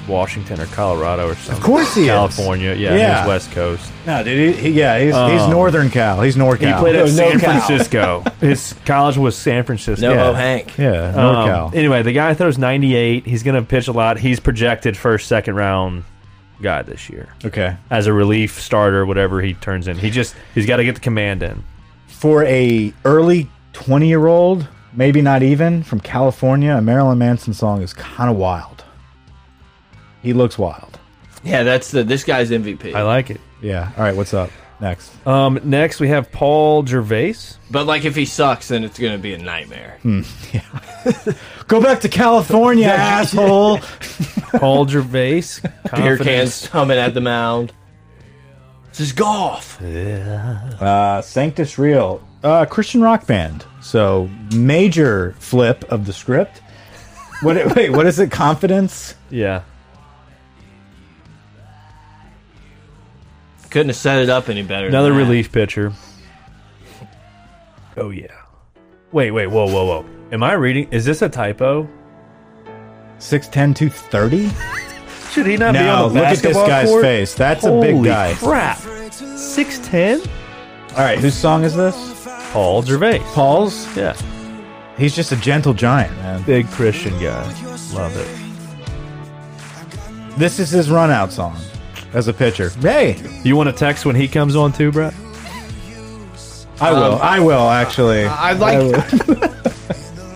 Washington or Colorado or something. Of course he is. California. Yeah, Yeah. he's West Coast. No, dude. He, he- yeah, he's, he's Um, Northern Cal. He's North He Cal. played at No, San no Cal. Francisco. His college was San Francisco. no, yeah. oh Hank. Yeah, North Um, Cal. Anyway, the guy throws 98. He's going to pitch a lot. He's projected first, second round guy this year okay. as a relief starter, whatever he turns in. He just he's got to get the command in. For a early 20 year old, maybe not even, from California, a Marilyn Manson song is kind of wild. He looks wild. Yeah, that's the this guy's MVP. I like it. Yeah. All right, what's up? Next. Um, next we have Paul Gervais. but like, if he sucks, then it's gonna be a nightmare. Hmm. Go back to California, asshole. Paul Gervais. Beer confidence. cans coming at the mound. This is golf. Uh, Sanctus Real, uh, Christian rock band. So major flip of the script. What? it- wait, what is it? Confidence? Yeah. Couldn't have set it up any better. than Another that. relief pitcher. Oh yeah. Wait, wait, whoa, whoa, whoa. Am I reading? Is this a typo? Six ten two thirty. Should he not be No, on the look at this basketball guy's court? face. That's a big Holy guy. Crap. Six ten. All right, whose song is this? Paul Gervais. Paul's. Yeah. He's just a gentle giant, man. Big Christian guy. Love it. This is his run out song as a pitcher. Hey, You want to text when he comes on too, Brett? I will. I will actually. I like.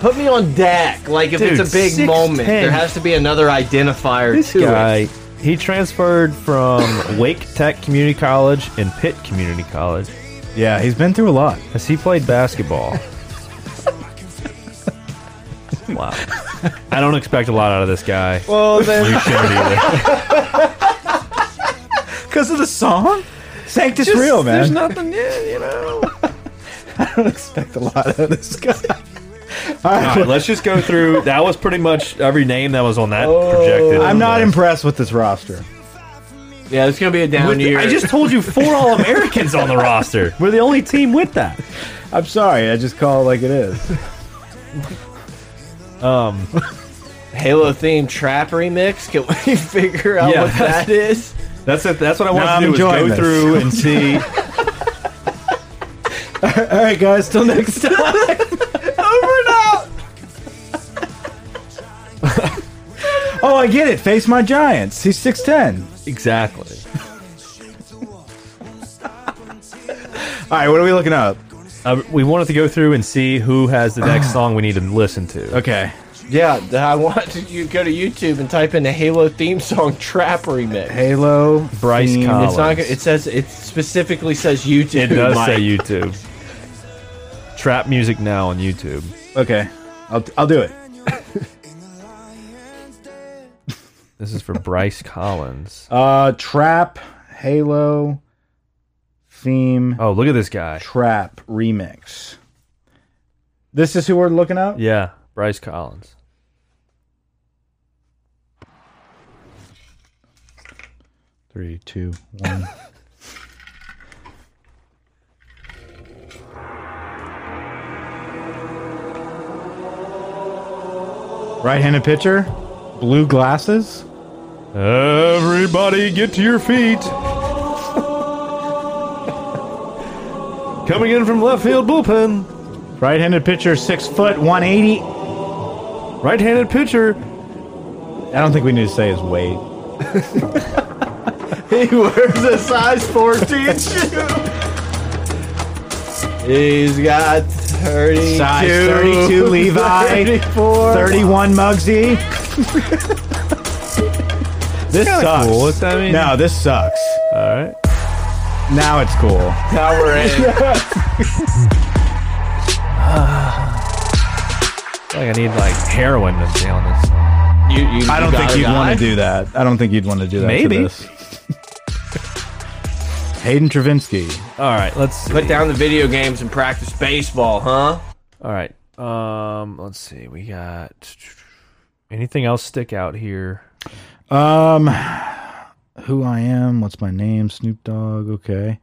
Put me on deck. Like if Dude, it's a big 6'10". moment, there has to be another identifier This to it. guy, he transferred from Wake Tech Community College and Pitt Community College. yeah, he's been through a lot. Has he played basketball? wow. I don't expect a lot out of this guy. Well, then, You shouldn't either. because of the song, Sanctus Real, man. There's nothing in, you know. don't expect a lot out of this guy. All right, let's just go through. That was pretty much every name that was on that projected. Oh. I'm not list. impressed with this roster. Yeah, it's gonna be a down With the- year. I just told you four All Americans on the roster. We're the only team with that. I'm sorry, I just call it like it is. Halo themed trap remix. Can we figure out Yeah, what that's- that is? That's it. That's what I want I'm to do is go enjoying this. through and see. All right, guys, till next time. Over and out. oh, I get it. Face my Giants. He's six ten. exactly. All right, what are we looking up? Uh, we wanted to go through and see who has the next song we need to listen to. Okay. Yeah, th- I want to, you go to YouTube and type in the Halo theme song trap remix. Halo. Bryce theme- Cobb. it's not. Collins. go- It says it specifically says YouTube. It does Mike. say YouTube. Trap music now on YouTube. Okay, I'll, I'll do it. This is for Bryce Collins. Uh, trap Halo theme Oh, look at this guy. trap remix. This is who we're looking up. Yeah, Bryce Collins. Three, two, one. Right-handed pitcher, blue glasses. Everybody get to your feet. Coming in from left field bullpen, Right-handed pitcher, six foot, one eighty. right-handed pitcher. I don't think we need to say his weight. He wears a size 14 shoe. He's got 32. Size 32 Levi. 34. Thirty-one E. Mugsy. this sucks. cool. What's that mean? No, this sucks. All right. Now it's cool. Now we're in. Like I need like heroin to stay on this. Song. You- you- I you don't got think a you'd guy? want to do that. I don't think you'd want to do that. Maybe. For this. Hayden Travinsky. All right, let's see. Put down the video games and practice baseball, huh? All right. Um, let's see. We got anything else stick out here? Um, who I am? What's my name? Snoop Dogg. Okay.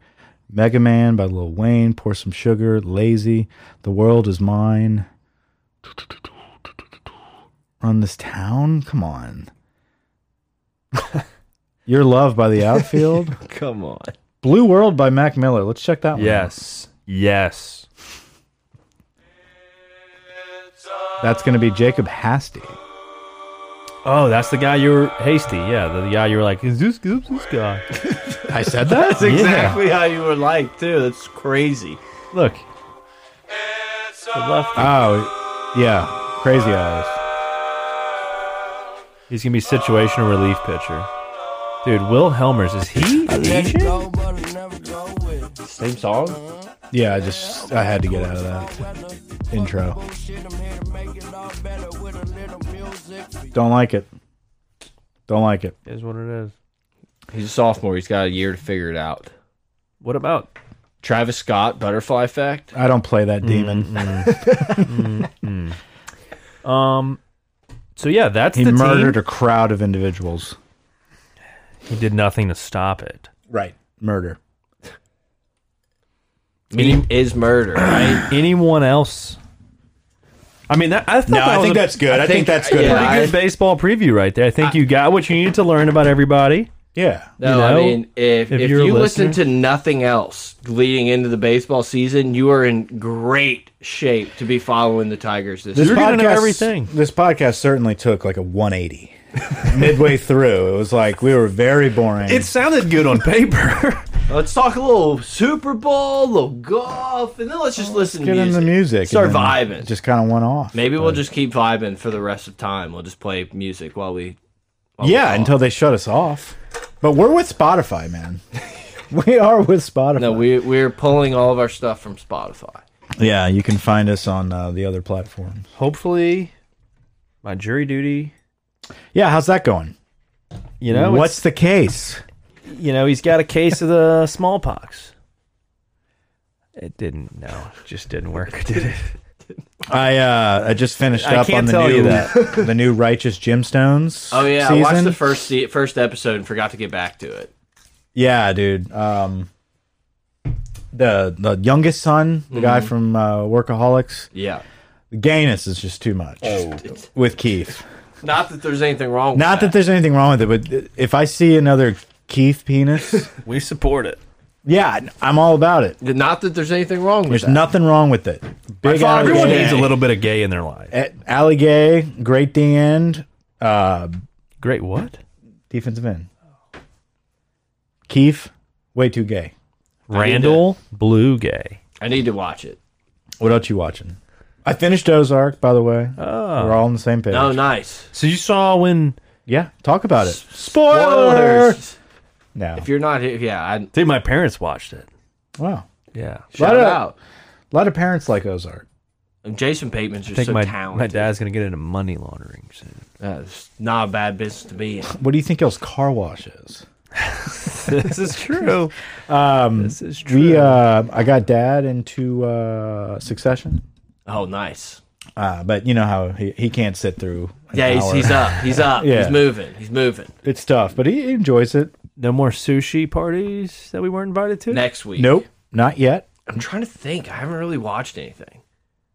Mega Man by Lil Wayne. Pour some sugar. Lazy. The world is mine. Run this town. Come on. Your love by the outfield. Come on. Blue World by Mac Miller. Let's check that one. out. Yes. Yes. That's going to be Jacob Hasty. Oh, that's the guy you were hasty. Yeah, the, guy you were like, is this, who's this guy? I said that? That's exactly how you were like, too. That's crazy. Look. The left. Oh, yeah. Crazy eyes. He's gonna be situational relief pitcher. Dude, Will Helmers is he? Same song? Yeah, I just I had to get out of that intro. Don't like it. Don't like it. Is what it is. He's a sophomore. He's got a year to figure it out. What about? Travis Scott, Butterfly Effect. I don't play that demon. Um. So yeah, that's He the murdered team. a crowd of individuals. He did nothing to stop it. Right. Murder. Meme is murder, right? Anyone else? I mean, that, I thought that was a- good. I, think- yeah, pretty I- good baseball preview right there. I think you got what you needed to learn about everybody. Yeah. No, You I know, mean, if, if if, you're a you listen to nothing else leading into the baseball season, you are in great shape to be following the Tigers this You're year. gonna know everything. This podcast certainly took like a 180. Midway through, it was like we were very boring. sounded good on paper. Let's talk a little Super Bowl, a little golf, and then let's just listen get to in music. the music. Start and then vibing. Just kind of went off. Maybe we'll just keep vibing for the rest of time. We'll just play music while we. while we Yeah, talk. until they shut us off. Oh, But we're with Spotify, man. we are with Spotify. No, we we're pulling all of our stuff from Spotify. yeah, you can find us on uh, the other platforms. Hopefully, my jury duty. Yeah, how's that going? You know What's what's the case? you know he's got a case of the smallpox. It didn't. No, it just didn't work, did it? I uh, I just finished I up can't on the tell new you that. the new Righteous Gemstones. Oh yeah, season. I watched the first se first episode and forgot to get back to it. Yeah, dude. Um, the the youngest son, the guy from uh, Workaholics, Yeah, gayness is just too much with Keith. not that there's anything wrong. Not with that there's anything wrong with it, but if I see another Keith penis, We support it. yeah, I'm all about it. that. Not that there's anything wrong with There's that. nothing wrong with it. Big thought Alley everyone Gay, needs a little bit of gay in their life. a- Alley Gay, great D end, uh, Great. What? defensive end. Keith, way too gay. Randall Blue Gay. I need to watch it. What else you watching? I finished Ozark, by the way. Oh. We're all on the same page. Oh, nice. So you saw when? Yeah, talk about it. Spoiler. Spoilers. No. If you're not here, yeah, I Dude, my parents watched it. Wow. Yeah. shout it out. A lot of parents like Ozark. And Jason Bateman's I just think so my my talented. dad's gonna get into money laundering soon. Uh, it's not a bad business to be in. What do you think else car wash is? this is true. Um, this is true. We, uh, I got dad into uh, Succession, Oh, nice. uh, but you know how he, he can't sit through. an Yeah, he's, hour. he's uh, up. He's up. Yeah. He's moving. He's moving. It's tough, but he enjoys it. no more sushi parties that we weren't invited to. Next week. Nope, not yet. I'm trying to think. I haven't really watched anything.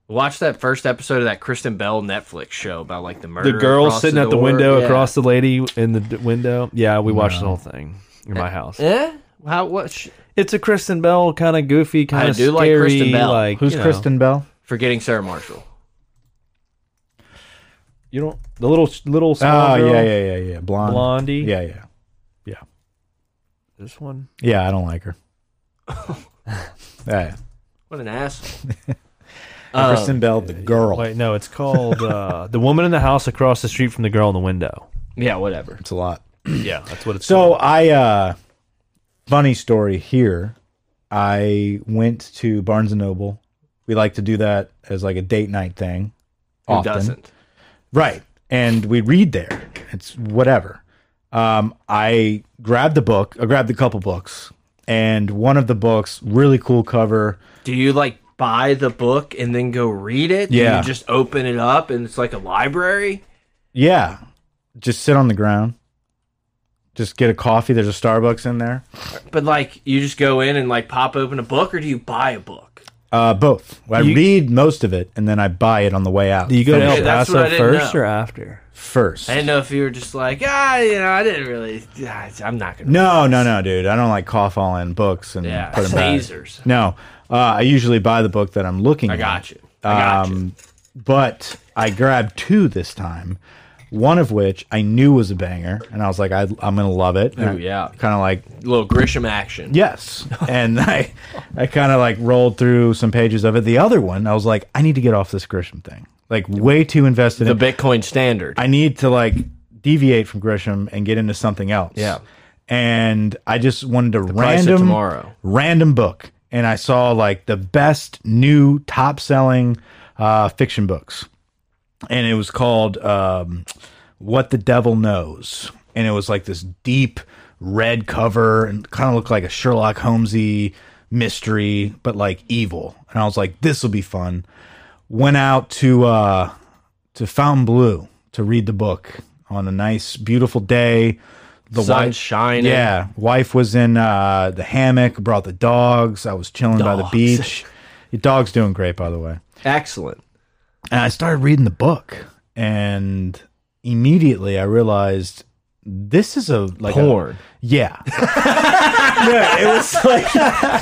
Watched that first episode of that Kristen Bell Netflix show about like the murder. the girl across sitting at the door. window Yeah. across the lady in the d- window. Yeah, we watched the whole thing in my house. Eh? How? What? Sh It's a Kristen Bell kind of goofy, kind I of do like scary, Kristen Bell. Like Who's you know, Kristen Bell? Forgetting Sarah Marshall. You don't the little little small Oh girl, yeah, yeah, yeah, yeah. Blonde. blondie. Yeah, yeah, this one. yeah. I don't like her. yeah. What an asshole. Kristen Bell, the girl. Wait, no, it's called uh, the woman in the house across the street from the girl in the window. Yeah, whatever. It's a lot. Yeah, that's what it's. So called. I uh funny story here. I went to Barnes and Noble. We like to do that as like a date night thing. Who often. doesn't? Right. And we read there. It's whatever. Um I grabbed the book, I grabbed a couple books and one of the books, really cool cover. Do you like buy the book and then go read it? Do Yeah. you just open it up and it's like a library? Yeah, just sit on the ground. Just get a coffee. There's a Starbucks in there. But like you just go in and like pop open a book or do you buy a book? Uh, both. I You- read most of it and then I buy it on the way out. Do you go to from El Okay, that's what I Paso didn't first know. or after? first? I didn't know if you were just like, ah, you know, I didn't really ah, I'm not gonna No, no, no, dude. I don't like cough all in books and Yeah, put them back. sneezers. No, uh, I usually buy the book that I'm looking. I at. got you. I got Um, you. But I grabbed two this time. One of which I knew was a banger, and I was like, I, "I'm gonna love it." Ooh, yeah. Kind of like Little Grisham action. yes, and I, I kind of like rolled through some pages of it. The other one, I was like, I need to get off this Grisham thing. Like, way too invested. The in Bitcoin standard. I need to like deviate from Grisham and get into something else. Yeah. And I just wanted a Price of random Tomorrow. random book. And I saw like the best new top selling uh, fiction books. And it was called um, What the Devil Knows. And it was like this deep red cover and kind of looked like a Sherlock Holmesy mystery, but like evil. And I was like, this will be fun. Went out to uh, to Fontainebleau to read the book on a nice, beautiful day. The Sun wife- shining. yeah, wife was in uh, the hammock, brought the dogs. I was chilling by the Dogs. beach. Your dog's doing great, by the way. Excellent. And I started reading the book, and immediately I realized this is a like a- Porn. yeah. yeah, it was like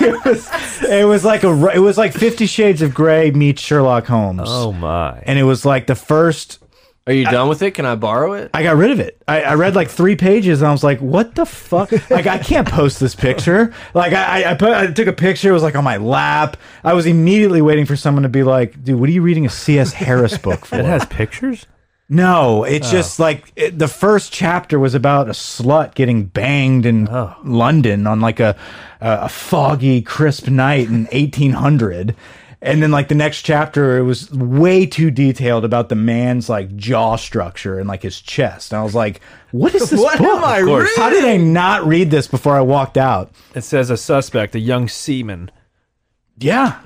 it was it was like a it was like Fifty Shades of Grey meets Sherlock Holmes. Oh my! And it was like the first Are you done with it? Can I borrow it? I got rid of it. I, I read like three pages and I was like, what the fuck? Like, I can't post this picture. Like, I, I- I, put, I took a picture. It was like on my lap. I was immediately waiting for someone to be like, dude, what are you reading a C.S. Harris book for? It has pictures. No, Oh. it's just like it, the first chapter was about a slut getting banged in Oh. London on like a a foggy, crisp night in 1800. And then like the next chapter, it was way too detailed about the man's like jaw structure and like his chest. And I was like, "What is this What book? am I Of course. How did I not read this before I walked out?" It says a suspect, a young seaman. Yeah.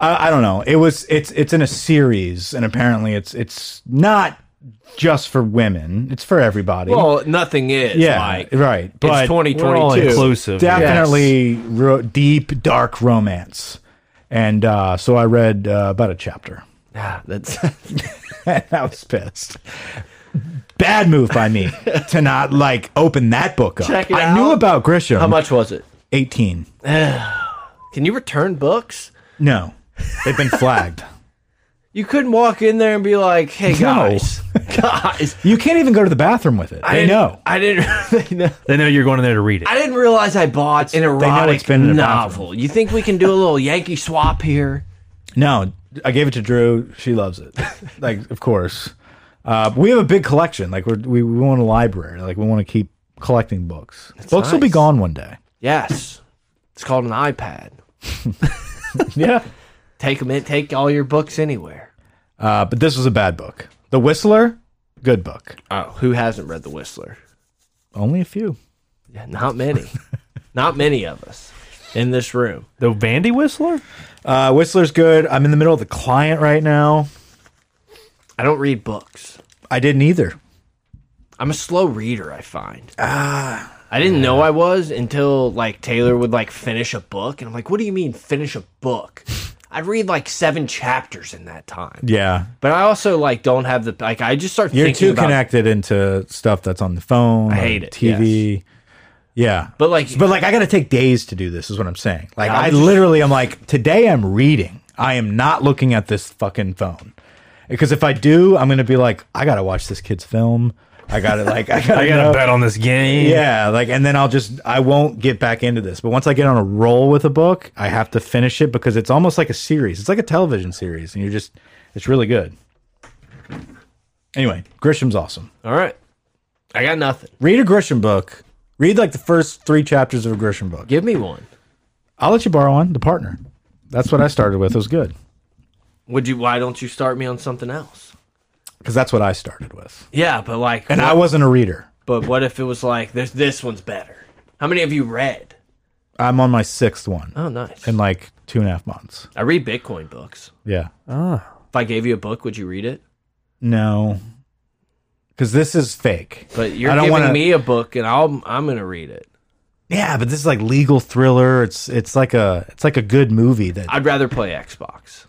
I, I don't know. It was it's it's in a series, and apparently it's it's not just for women. It's for everybody. Well, nothing is. yeah, Mike. right. But it's twenty We're all twenty two. inclusive. definitely ro deep dark romance, and uh, so I read uh, about a chapter. Ah, That's and I was pissed. Bad move by me to not like open that book up. Check it I knew out. about Grisham. how much was it? Eighteen. Can you return books? No, they've been flagged. You couldn't walk in there and be like, "Hey guys, guys, You can't even go to the bathroom with it. They didn't- know. I didn't. They know. They know you're going in there to read it. I didn't realize I bought an know erotic it's been in a novel. You think we can do a little Yankee swap here? No, I gave it to Drew. She loves it. like, of course. Uh, we have a big collection. Like, we're, we we want a library. Like, we want to keep collecting books. books will be nice. gone one day. Yes, it's called an iPad. Yeah. Take them in. Take all your books anywhere. Uh, but this was a bad book. The Whistler, good book. Oh, who hasn't read The Whistler? Only a few. Yeah, not many. not many of us in this room. The Vandy Whistler. Uh, Whistler's good. I'm in the middle of the client right now. I don't read books. I didn't either. I'm a slow reader, I find. Ah. I didn't know I was until like Taylor would like finish a book and I'm like, "What do you mean finish a book?" I read like 7 chapters in that time. Yeah. But I also like don't have the like I just start You're thinking too about connected into stuff that's on the phone. I hate it, TV. Yeah. But like But like, I got to take days to do this. Is what I'm saying. Like, Yeah, I'm I just- literally, I'm like, today I'm reading. I am not looking at this fucking phone because if I do, I'm gonna be like, I gotta watch this kid's film. I gotta like, I gotta, I got know- to bet on this game. Yeah, like, and then I'll just, I won't get back into this. But once I get on a roll with a book, I have to finish it because it's almost like a series. It's like a television series, and you're just, it's really good. Anyway, Grisham's awesome. all right. I got nothing. Read a Grisham book. Read like the first three chapters of a Grisham book. Give me one. I'll let you borrow one. The partner. That's what I started with. It was good Would you why don't you start me on something else? because that's what I started with, Yeah, but like and what- I wasn't a reader. But what if it was like this? This one's better. How many have you read? I'm on my sixth one Oh, nice. in like two and a half months. I read Bitcoin books. Yeah. Uh. If I gave you a book, would you read it? No. Because this is fake. But you're I don't giving wanna- me a book, and I'll I'm gonna read it. Yeah, but this is like legal thriller. It's it's like a it's like a good movie that. I'd rather play Xbox.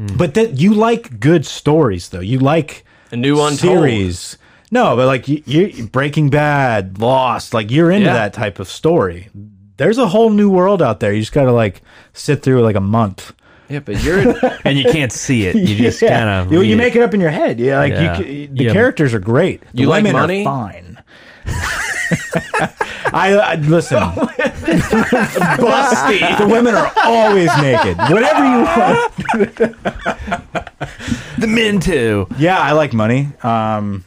but that you like good stories though. You like A new untold. series. No, but like you, you Breaking Bad, Lost, like you're into Yeah. that type of story. There's a whole new world out there. You just gotta like sit through like a month. Yeah, but you're and you can't see it. You just Yeah. kind of you, you make it up in your head. Yeah, like Yeah. you c the Yeah. characters are great. The You like women money? Are fine. I, I listen. Busty. The women are always naked. Whatever you want. the men too. Yeah, I like money. Um,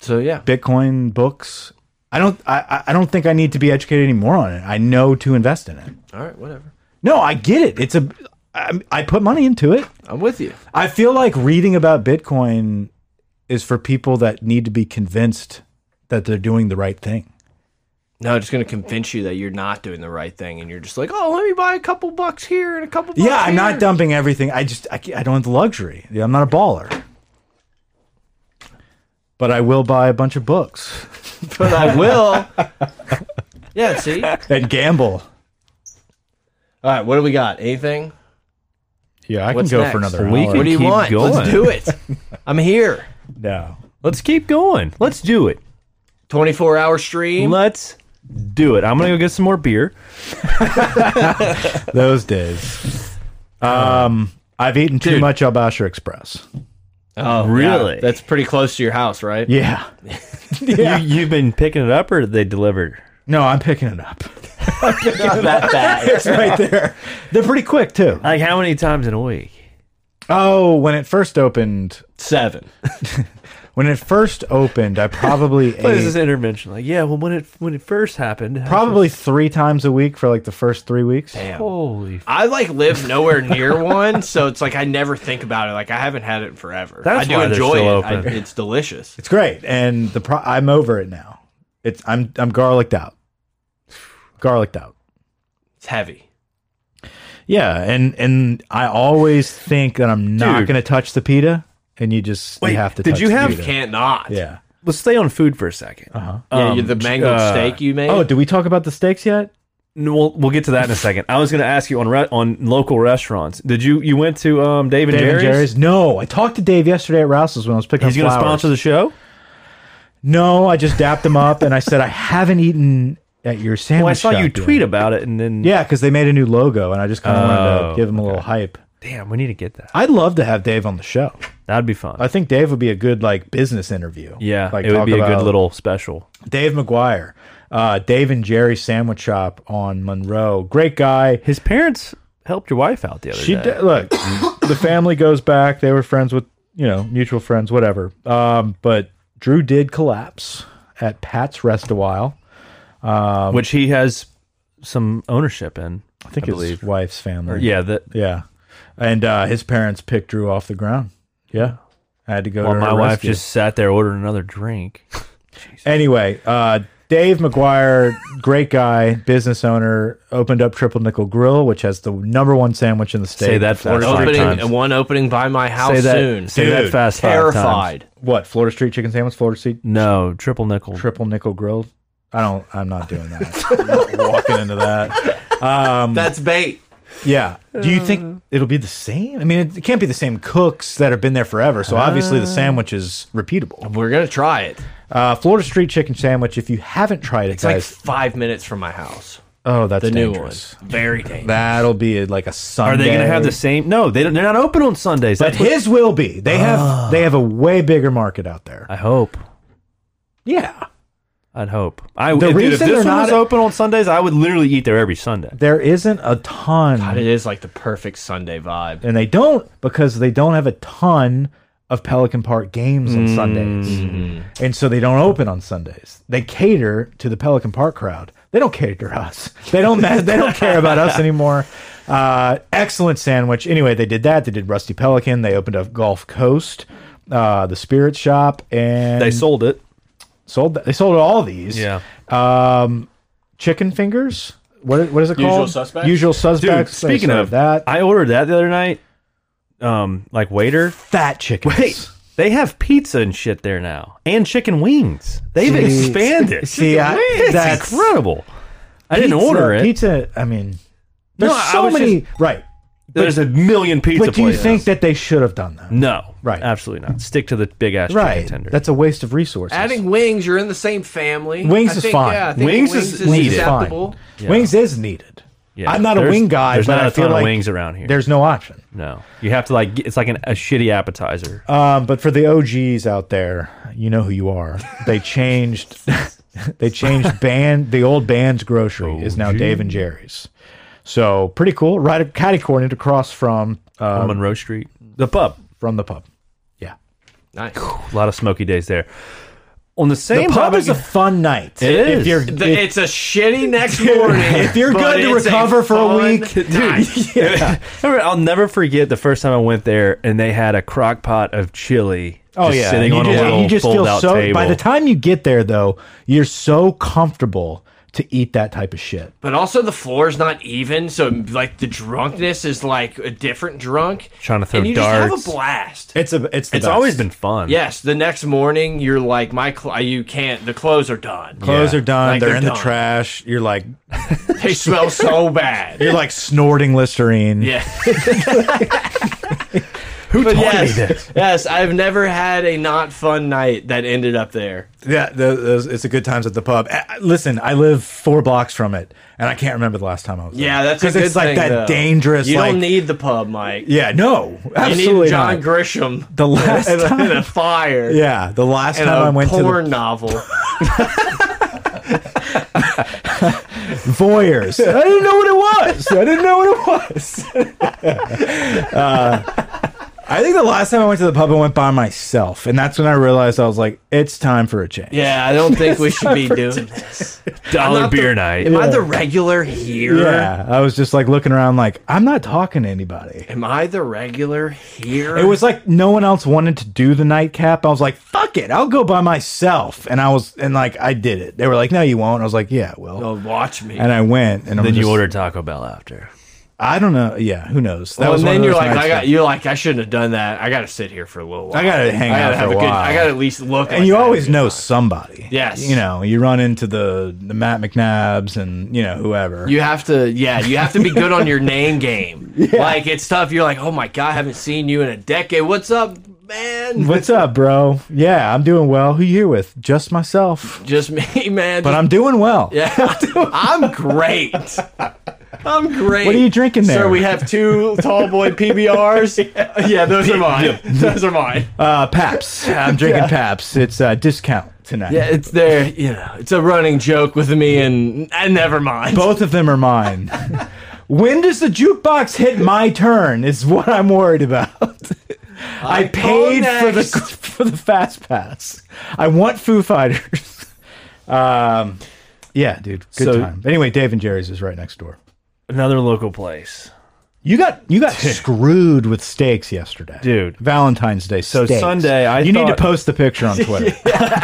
so yeah. Bitcoin books. I don't. I, I- I don't think I need to be educated anymore on it. I know to invest in it. All right, whatever. No, I get it. It's a. I, I put money into it. I'm with you. I feel like reading about Bitcoin is for people that need to be convinced that they're doing the right thing. No, I'm just gonna convince you that you're not doing the right thing, and you're just like, oh, let me buy a couple bucks here and a couple. Bucks Yeah, I'm not here." dumping everything. I just I, can't- I don't have the luxury. Yeah, I'm not a baller. But I will buy a bunch of books but I will. yeah. See. All and gamble. right. What do we got? Anything? Yeah, I What's can go next? for another We hour. What do you Keep want? Let's going. do it. I'm here. No. Let's keep going. Let's do it. 24 hour stream. Let's do it. I'm gonna go get some more beer. Those days. Um, I've eaten too Dude. much Albasher Express. Oh, Really? yeah. That's pretty close to your house, right? Yeah. You, you've been picking it up, or did they deliver? No, I'm picking it up. It's right there. They're pretty quick too. Like how many times in a week? Oh, when it first opened, Seven. when it first opened, I probably What is this ate intervention? Like, yeah, well, when it when it first happened, I probably three times a week for like the first three weeks. was- holy. f- I like live nowhere near one, so it's like I never think about it. Like I haven't had it in forever. That's I do why they're enjoy still it. I- open. it's delicious. It's great, and the pro- I'm over it now. It's I'm I'm garlicked out, garlicked out. It's heavy. Yeah, and and I always think that I'm not Dude. going to touch the pita, and you just you have to. did touch you the have pita. Can't not. Yeah. Let's stay on food for a second. Uh-huh. Yeah, you're the mangled uh, steak you made. Oh, did we talk about the steaks yet? We'll we'll get to that in a second. I was going to ask you on re on local restaurants. Did you you went to um Dave and Dave Jerry's? and Jerry's. No, I talked to Dave yesterday at Rouse's when I was picking He's up going to flowers. sponsor the show. No, I just dapped them up and I said I haven't eaten at your sandwich. Well, Oh, I saw shop you yet." tweet about it, and then Yeah, because they made a new logo, and I just kind of wanted Oh, to give them a little hype. damn, we need to get that. I'd love to have Dave on the show. That'd be fun. I think Dave would be a good like business interview. yeah, like, it would talk be a about good little special. Dave McGuire, uh, Dave and Jerry Sandwich Shop on Monroe. Great guy. His parents helped your wife out the other She day. d look. the family goes back. They were friends with you know mutual friends, whatever. Um, but Drew did collapse at Pat's Rest a while. which he has some ownership in. I think I his believe. wife's family. Yeah, that Yeah. And uh, his parents picked Drew off the ground. Yeah. I had to go well, to my her wife rescue. just sat there ordering another drink. Anyway, uh, Dave McGuire, great guy, business owner, opened up Triple Nickel Grill, which has the number one sandwich in the state. that Florida fast Street five Chicken- times. opening one opening by my house say that, soon. Say that Dude, fast five times. Terrified. What? Florida Street Chicken Sandwich, Florida Street No, triple nickel. Triple Nickel Grill? I don't, I'm not doing that. I'm not walking into that. Um, That's bait. Yeah. Do you think it'll be the same? I mean, it, it can't be the same cooks that have been there forever. So obviously the sandwich is repeatable. We're gonna try it. Uh, Florida Street Chicken Sandwich, if you haven't tried it, It's like guys, five minutes from my house. Oh, that's The new one. dangerous. Very dangerous. That'll be like a Sunday. Are they going to have the same? No, they don't, they're not open on Sundays. But That's what- Ah. his will be. They have they have a way bigger market out there. I hope. Yeah, I'd hope. I The dude, if reason this they're one not- was open on Sundays, I would literally eat there every Sunday. there isn't a ton, God, it is like the perfect Sunday vibe. and they don't because they don't have a ton of Pelican Park games on Sundays, Mm-hmm. and so they don't open on Sundays. They cater to the Pelican Park crowd. They don't cater to us. They don't. ma- they don't care about us anymore. Uh, excellent sandwich. Anyway, they did that. They did Rusty Pelican. They opened up Gulf Coast, uh, the Spirit Shop, and They sold it. sold they sold all these. Yeah. Um, chicken fingers. what what is it Usual called? Suspects? Usual Dude, suspects. They speaking serve of that, I ordered that the other night. Um, like waiter. fat chicken. Wait, they have pizza and shit there now, and chicken wings. They've See- expanded. see, I- it's that's- incredible. I didn't order it. Pizza. I mean, there's I so was many. right. There's a million pizza But do you places. think that they should have done that? No, Right. Absolutely not. Stick to the big ass Right. chicken tender. That's a waste of resources. Adding wings, you're in the same family. Wings I is think, fine. Yeah, I think Wings wings, is is, needed. acceptable. Yeah. Wings is needed. Yeah. I'm not a There's- wing guy, There's but not a I feel ton like of wings around here. There's no option. no. You have to like. get- It's like an, a shitty appetizer. Um, but for the OGs out there, you know who you are. They changed. they changed band. The old band's grocery is now Dave and Jerry's. So pretty cool. Right, at catty cornered across from uh, on Monroe Street, the pub. from the pub. Yeah, Nice. A lot of smoky days there. On the the same pub topic- is a fun night. It If is. you're, The- if- it's a shitty next morning. If you're but good to it's a recover for a fun week, night. Yeah. I'll never forget the first time I went there and they had a crock pot of chili. oh just yeah, Sitting you on just, a little you just fold feel out so. table. By the time you get there, though, you're so comfortable to eat that type of shit. But also the floor is not even, so like the drunkenness is like a different drunk. Trying to throw and you darts. just have a blast. It's a. It's. The it's always been fun. Yes, the next morning you're like my cl uh, you can't the clothes are done. Clothes Yeah. are done. Like, they're, they're in the done. trash. You're like They smell so bad. you're like snorting listerine. Yeah. Who taught yes, you this? Yes, I've never had a not fun night that ended up there. yeah. th- those- it's a good times at the pub. Uh, Listen, I live four blocks from it, and I can't remember the last time I was. there. Yeah, that's a because good it's like thing, that though. dangerous. You like, don't need the pub, Mike. Yeah, no, you absolutely need John not. Grisham. The last and a, and time- a fire. yeah, the last And time a I went to porn the novel. voyeurs, I didn't know what it was. I didn't know what it was. uh, I think the last time I went to the pub, I went by myself, and that's when I realized I was like, it's time for a change. Yeah, I don't think we should be doing this. I'm Dollar not beer the- night. Am I the regular here? Yeah, I was just like looking around, like I'm not talking to anybody. Am I the regular here? It was like no one else wanted to do the nightcap. I was like, "Fuck it, I'll go by myself." And I was, and like I did it. They were like, "No, you won't." I was like, "Yeah, well." Oh, watch me. And I went, and I'm then you just- ordered Taco Bell after. I don't know. Yeah, who knows? That Well, and one then of you're those like, nights I got that- you're like, I shouldn't have done that. I got to sit here for a little while. I gotta hang I out gotta for have a a good. while. I gotta at least look. And like you I had a always good know time. somebody. Yes. you know, you run into the the Matt McNabs and you know whoever. You have to, yeah, you have to be good on your name game. Like it's tough. You're like, oh my god, I haven't seen you in a decade. What's up, man? What's up, bro? Yeah, I'm doing well. Who you here with? Just myself, Just me, man. but I'm doing well. Yeah, I'm great. I'm great. What are you drinking there? Sir, we have two tall boy PBRs. yeah. those are mine. Those are mine. Uh, Paps. I'm drinking Paps. It's uh, discount tonight. Yeah, it's there. You know, it's a running joke with me, and, and never mind. Both of them are mine. when does the jukebox hit my turn? Is what I'm worried about. I paid for the next. for the fast pass. I want Foo Fighters. um, yeah, dude, good So- time. Anyway, Dave and Jerry's is right next door. Another local place. You got you got screwed with steaks yesterday, Dude. Valentine's Day. So Sunday, I you need to thought- post the picture on Twitter.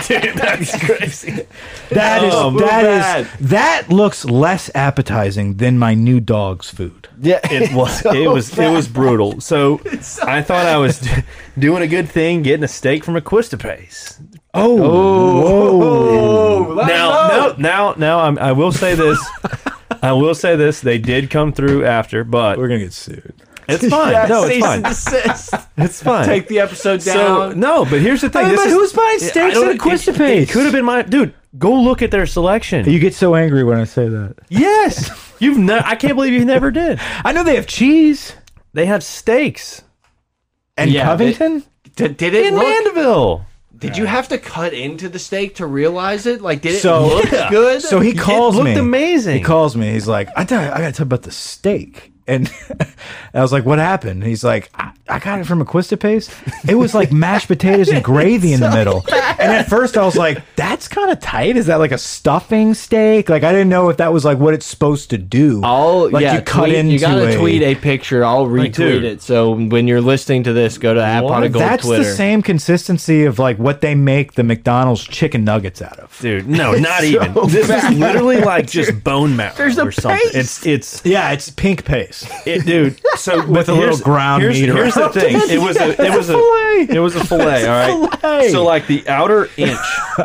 Dude, that's crazy. That is Oh, that bad. is that looks less appetizing than my new dog's food. Yeah, it was. it was. It was brutal. So, I thought I was doing a good thing, getting a steak from a Quistapace. Oh, Oh, let now, it go. now, now, now, I'm, I will say this. I will say this. They did come through after, but gonna get sued. it's fine. Yeah, no, it's cease and fine. desist. It's fine. Take the episode so down. no, but here's the thing. This but is- who's buying I steaks don't- at a Quistapace? It, it could have been my dude. Go look at their selection. You get so angry when I say that. yes, you've. Ne- I can't believe you never did. I know they have cheese They have steaks and Yeah, Covington. Did, did it in look? Mandeville. Did you have to cut into the steak to realize it? Like, did it So- look good? so he It calls looked me. amazing. He calls me. He's like, I, tell you- I gotta tell you about the steak. And I was like, "What happened?" And he's like, I, "I got it from a Quistapace. It was like mashed potatoes and gravy in the middle." And at first, I was like, "That's kind of tight. Is that like a stuffing steak? Like I didn't know if that was like what it's supposed to do." I'll like yeah, you cut tweet, into you gotta a- tweet a picture. I'll retweet dude. it. So when you're listening to this, go to app on a gold That's Twitter. the same consistency of like what they make the McDonald's chicken nuggets out of. dude. No, not even. This is literally like just bone marrow There's a or something. paste. It's it's Yeah, it's pink paste. it, dude. So With but a little here's- ground here's, meat Here's the around thing. It was a it was a fillet. it was a fillet. All right. fillet. So like the outer inch,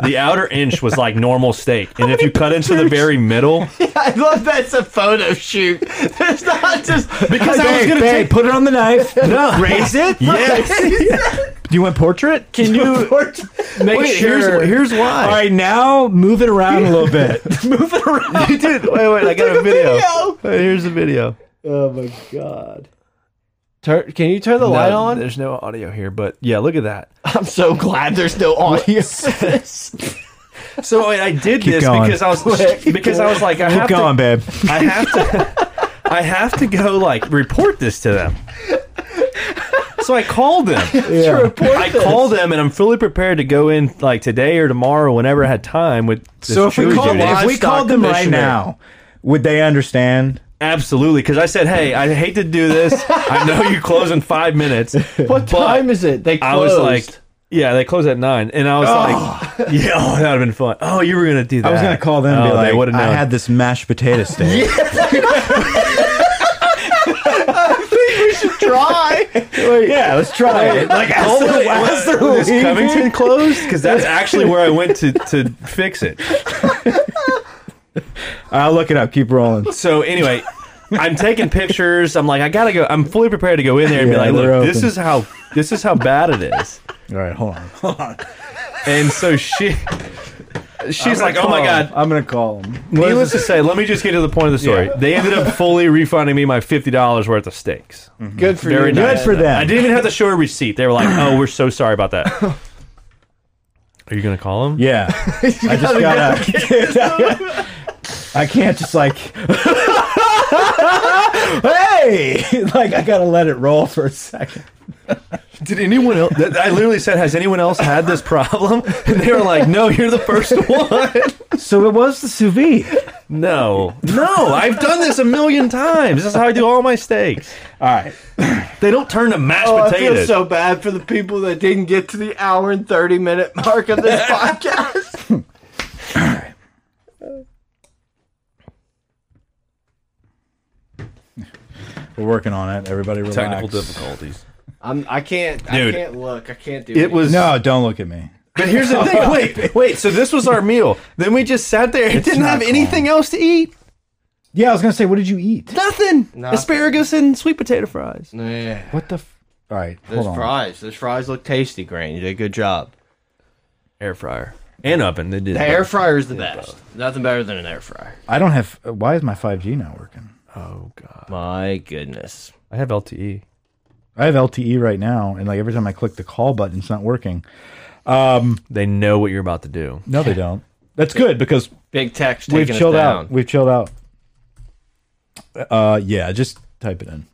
the outer inch was like normal steak, and if you cut into the very middle, I love that's a photo shoot. There's not just Because I was gonna take, put it on the knife, raise it. Do you want portrait? Can you make Wait, sure? here's- here's why. All right, now move it around a little bit. move it around. You did. Wait, wait. I got a video. Here's the video. oh my god! Turn, can you turn the light on? There's no audio here, but yeah, look at that. I'm so glad there's no audio. to this. So wait, I did Keep this going. because I was because I was like, I Keep have going, to, babe. I have to, I have to go like report this to them. So I called them. I called them, and I'm fully prepared to go in like today or tomorrow, whenever I had time. With this So if we, jury call, duty. if we Livestock called them right commissioner. now, would they understand? absolutely, because I said, hey, I hate to do this. I know you close in five minutes. What time is it? They closed. I was like. Yeah, they close at nine, and I was like, "Yeah, oh, that would have been fun." Oh, you were gonna do that. Oh. I was gonna call them and Oh, be they like, would've known. "I had this mashed potato steak." try. yeah, let's try it. Like, Oh, wait, was- was leaving? Covington closed? Because that's actually where I went to to fix it. I'll look it up. Keep rolling. So anyway, I'm taking pictures. I'm like, I gotta go. I'm fully prepared to go in there and Yeah, be like, they're look, this open. is how this is how bad it is. All right, hold on. And so she she's I'm like, gonna oh my call god. him. I'm gonna call him. Needless to say, let me just get to the point of the story. They ended up fully refunding me my fifty dollars worth of steaks. Good for Very you. nice. Good for them. I didn't even have to show a receipt. They were like, "Oh, we're so sorry about that." Are you gonna call him? Yeah, I just gotta. I can't just like. hey, like I gotta let it roll for a second. Did anyone else? That, I literally said, "Has anyone else had this problem?" And they were like, "No, you're the first one." So it was the sous vide. No, no, I've done this a million times. This is how I do all my steaks. All right, They don't turn to mashed Oh, I feel potatoes. so bad for the people that didn't get to the hour and 30 minute mark of this podcast. we're working on it. Everybody, relax. Technical difficulties. I'm, I can't, Dude. I can't look. I can't do It was No, don't look at me. But here's the thing. Wait, wait. So this was our meal. Then we just sat there and didn't not have anything else to eat. Yeah, I was gonna say, what did you eat? Nothing. Nothing. Asparagus and sweet potato fries. Yeah. What the? F All right, Those hold on. fries, those fries look tasty, Grant. You did a good job. Air fryer and oven. They did. The air fryer is the best. Nothing better than an air fryer. I don't have. uh, Why is my 5G not working? Oh god. My goodness. I have E. LTE. I have LTE right now, and like every time I click the call button, it's not working. They know what you're about to do. No, they don't. That's good because Big text taking we've us chilled down. out. We've chilled out. Uh, yeah, just type it in.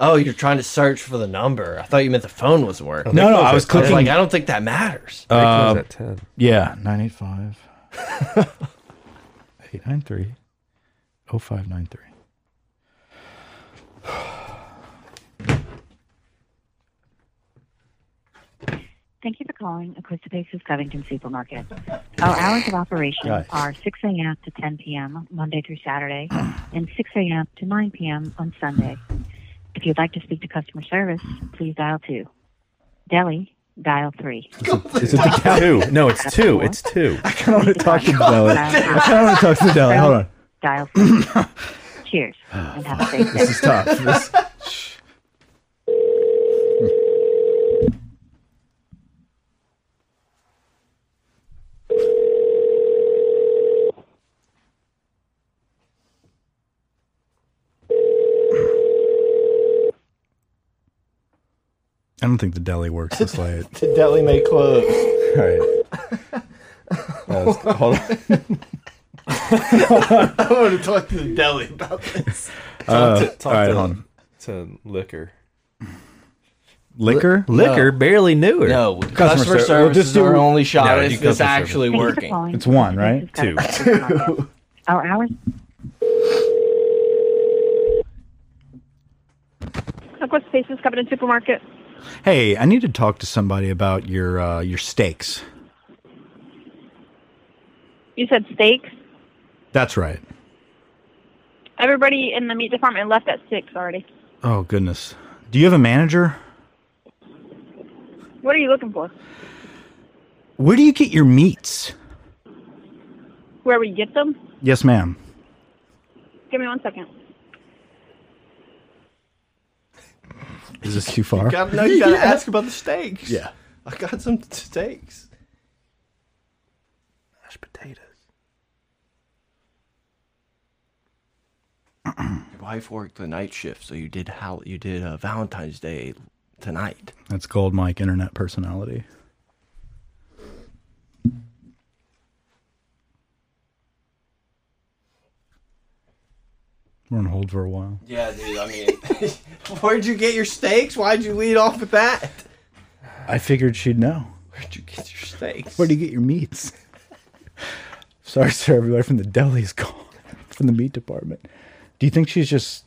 Oh, you're trying to search for the number. I thought you meant the phone was working. No, no, I was I was clicking. like, I don't think that matters. They close at ten. yeah, nine eight five eight nine three oh five nine three. Thank you for calling Equistapace's Covington Supermarket. Our hours of operation Guys. are 6 a.m. to 10 p.m. Monday through Saturday and 6 a.m. to 9 p.m. on Sunday. If you'd like to speak to customer service, please dial 2. Deli, dial 3. Is it the cat? Two. No, it's two. It's two. I kind of want to talk to Deli. I kind of want to talk to Deli. Hold on. Dial 4. Cheers and have a safe day. This is tough. This- I don't think the deli works this late. the deli may close. All right. That was- hold on. I want to talk to the deli about this. Uh, to, talk all right, to, hold on. to liquor. Liquor? Liquor barely knew her. No, customer, ser- we'll service is just do- our only shot. No, if do it's customer actually Thank you for working. calling. It's one, right? This is Two. customer service. Our hours. Northwest Spaces Covenant Supermarket. Hey, I need to talk to somebody about your uh, your steaks. You said steaks. That's right. Everybody in the meat department left at six already. Oh goodness. Do you have a manager? What are you looking for? Where do you get your meats? Where we get them? Yes, ma'am. Give me one second. Is this too far? no, you gotta ask about the steaks. Yeah. I got some steaks. Mashed potatoes. Your wife worked the night shift, so you did how you did uh, Valentine's Day tonight. That's called Mike internet personality. We're on hold for a while. Yeah, dude. I mean, where'd you get your steaks? Why'd you lead off with that? I figured she'd know. Where'd you get your steaks? Where do you get your meats? Sorry, sir. Everybody from the deli's gone from the meat department. Do you think she's just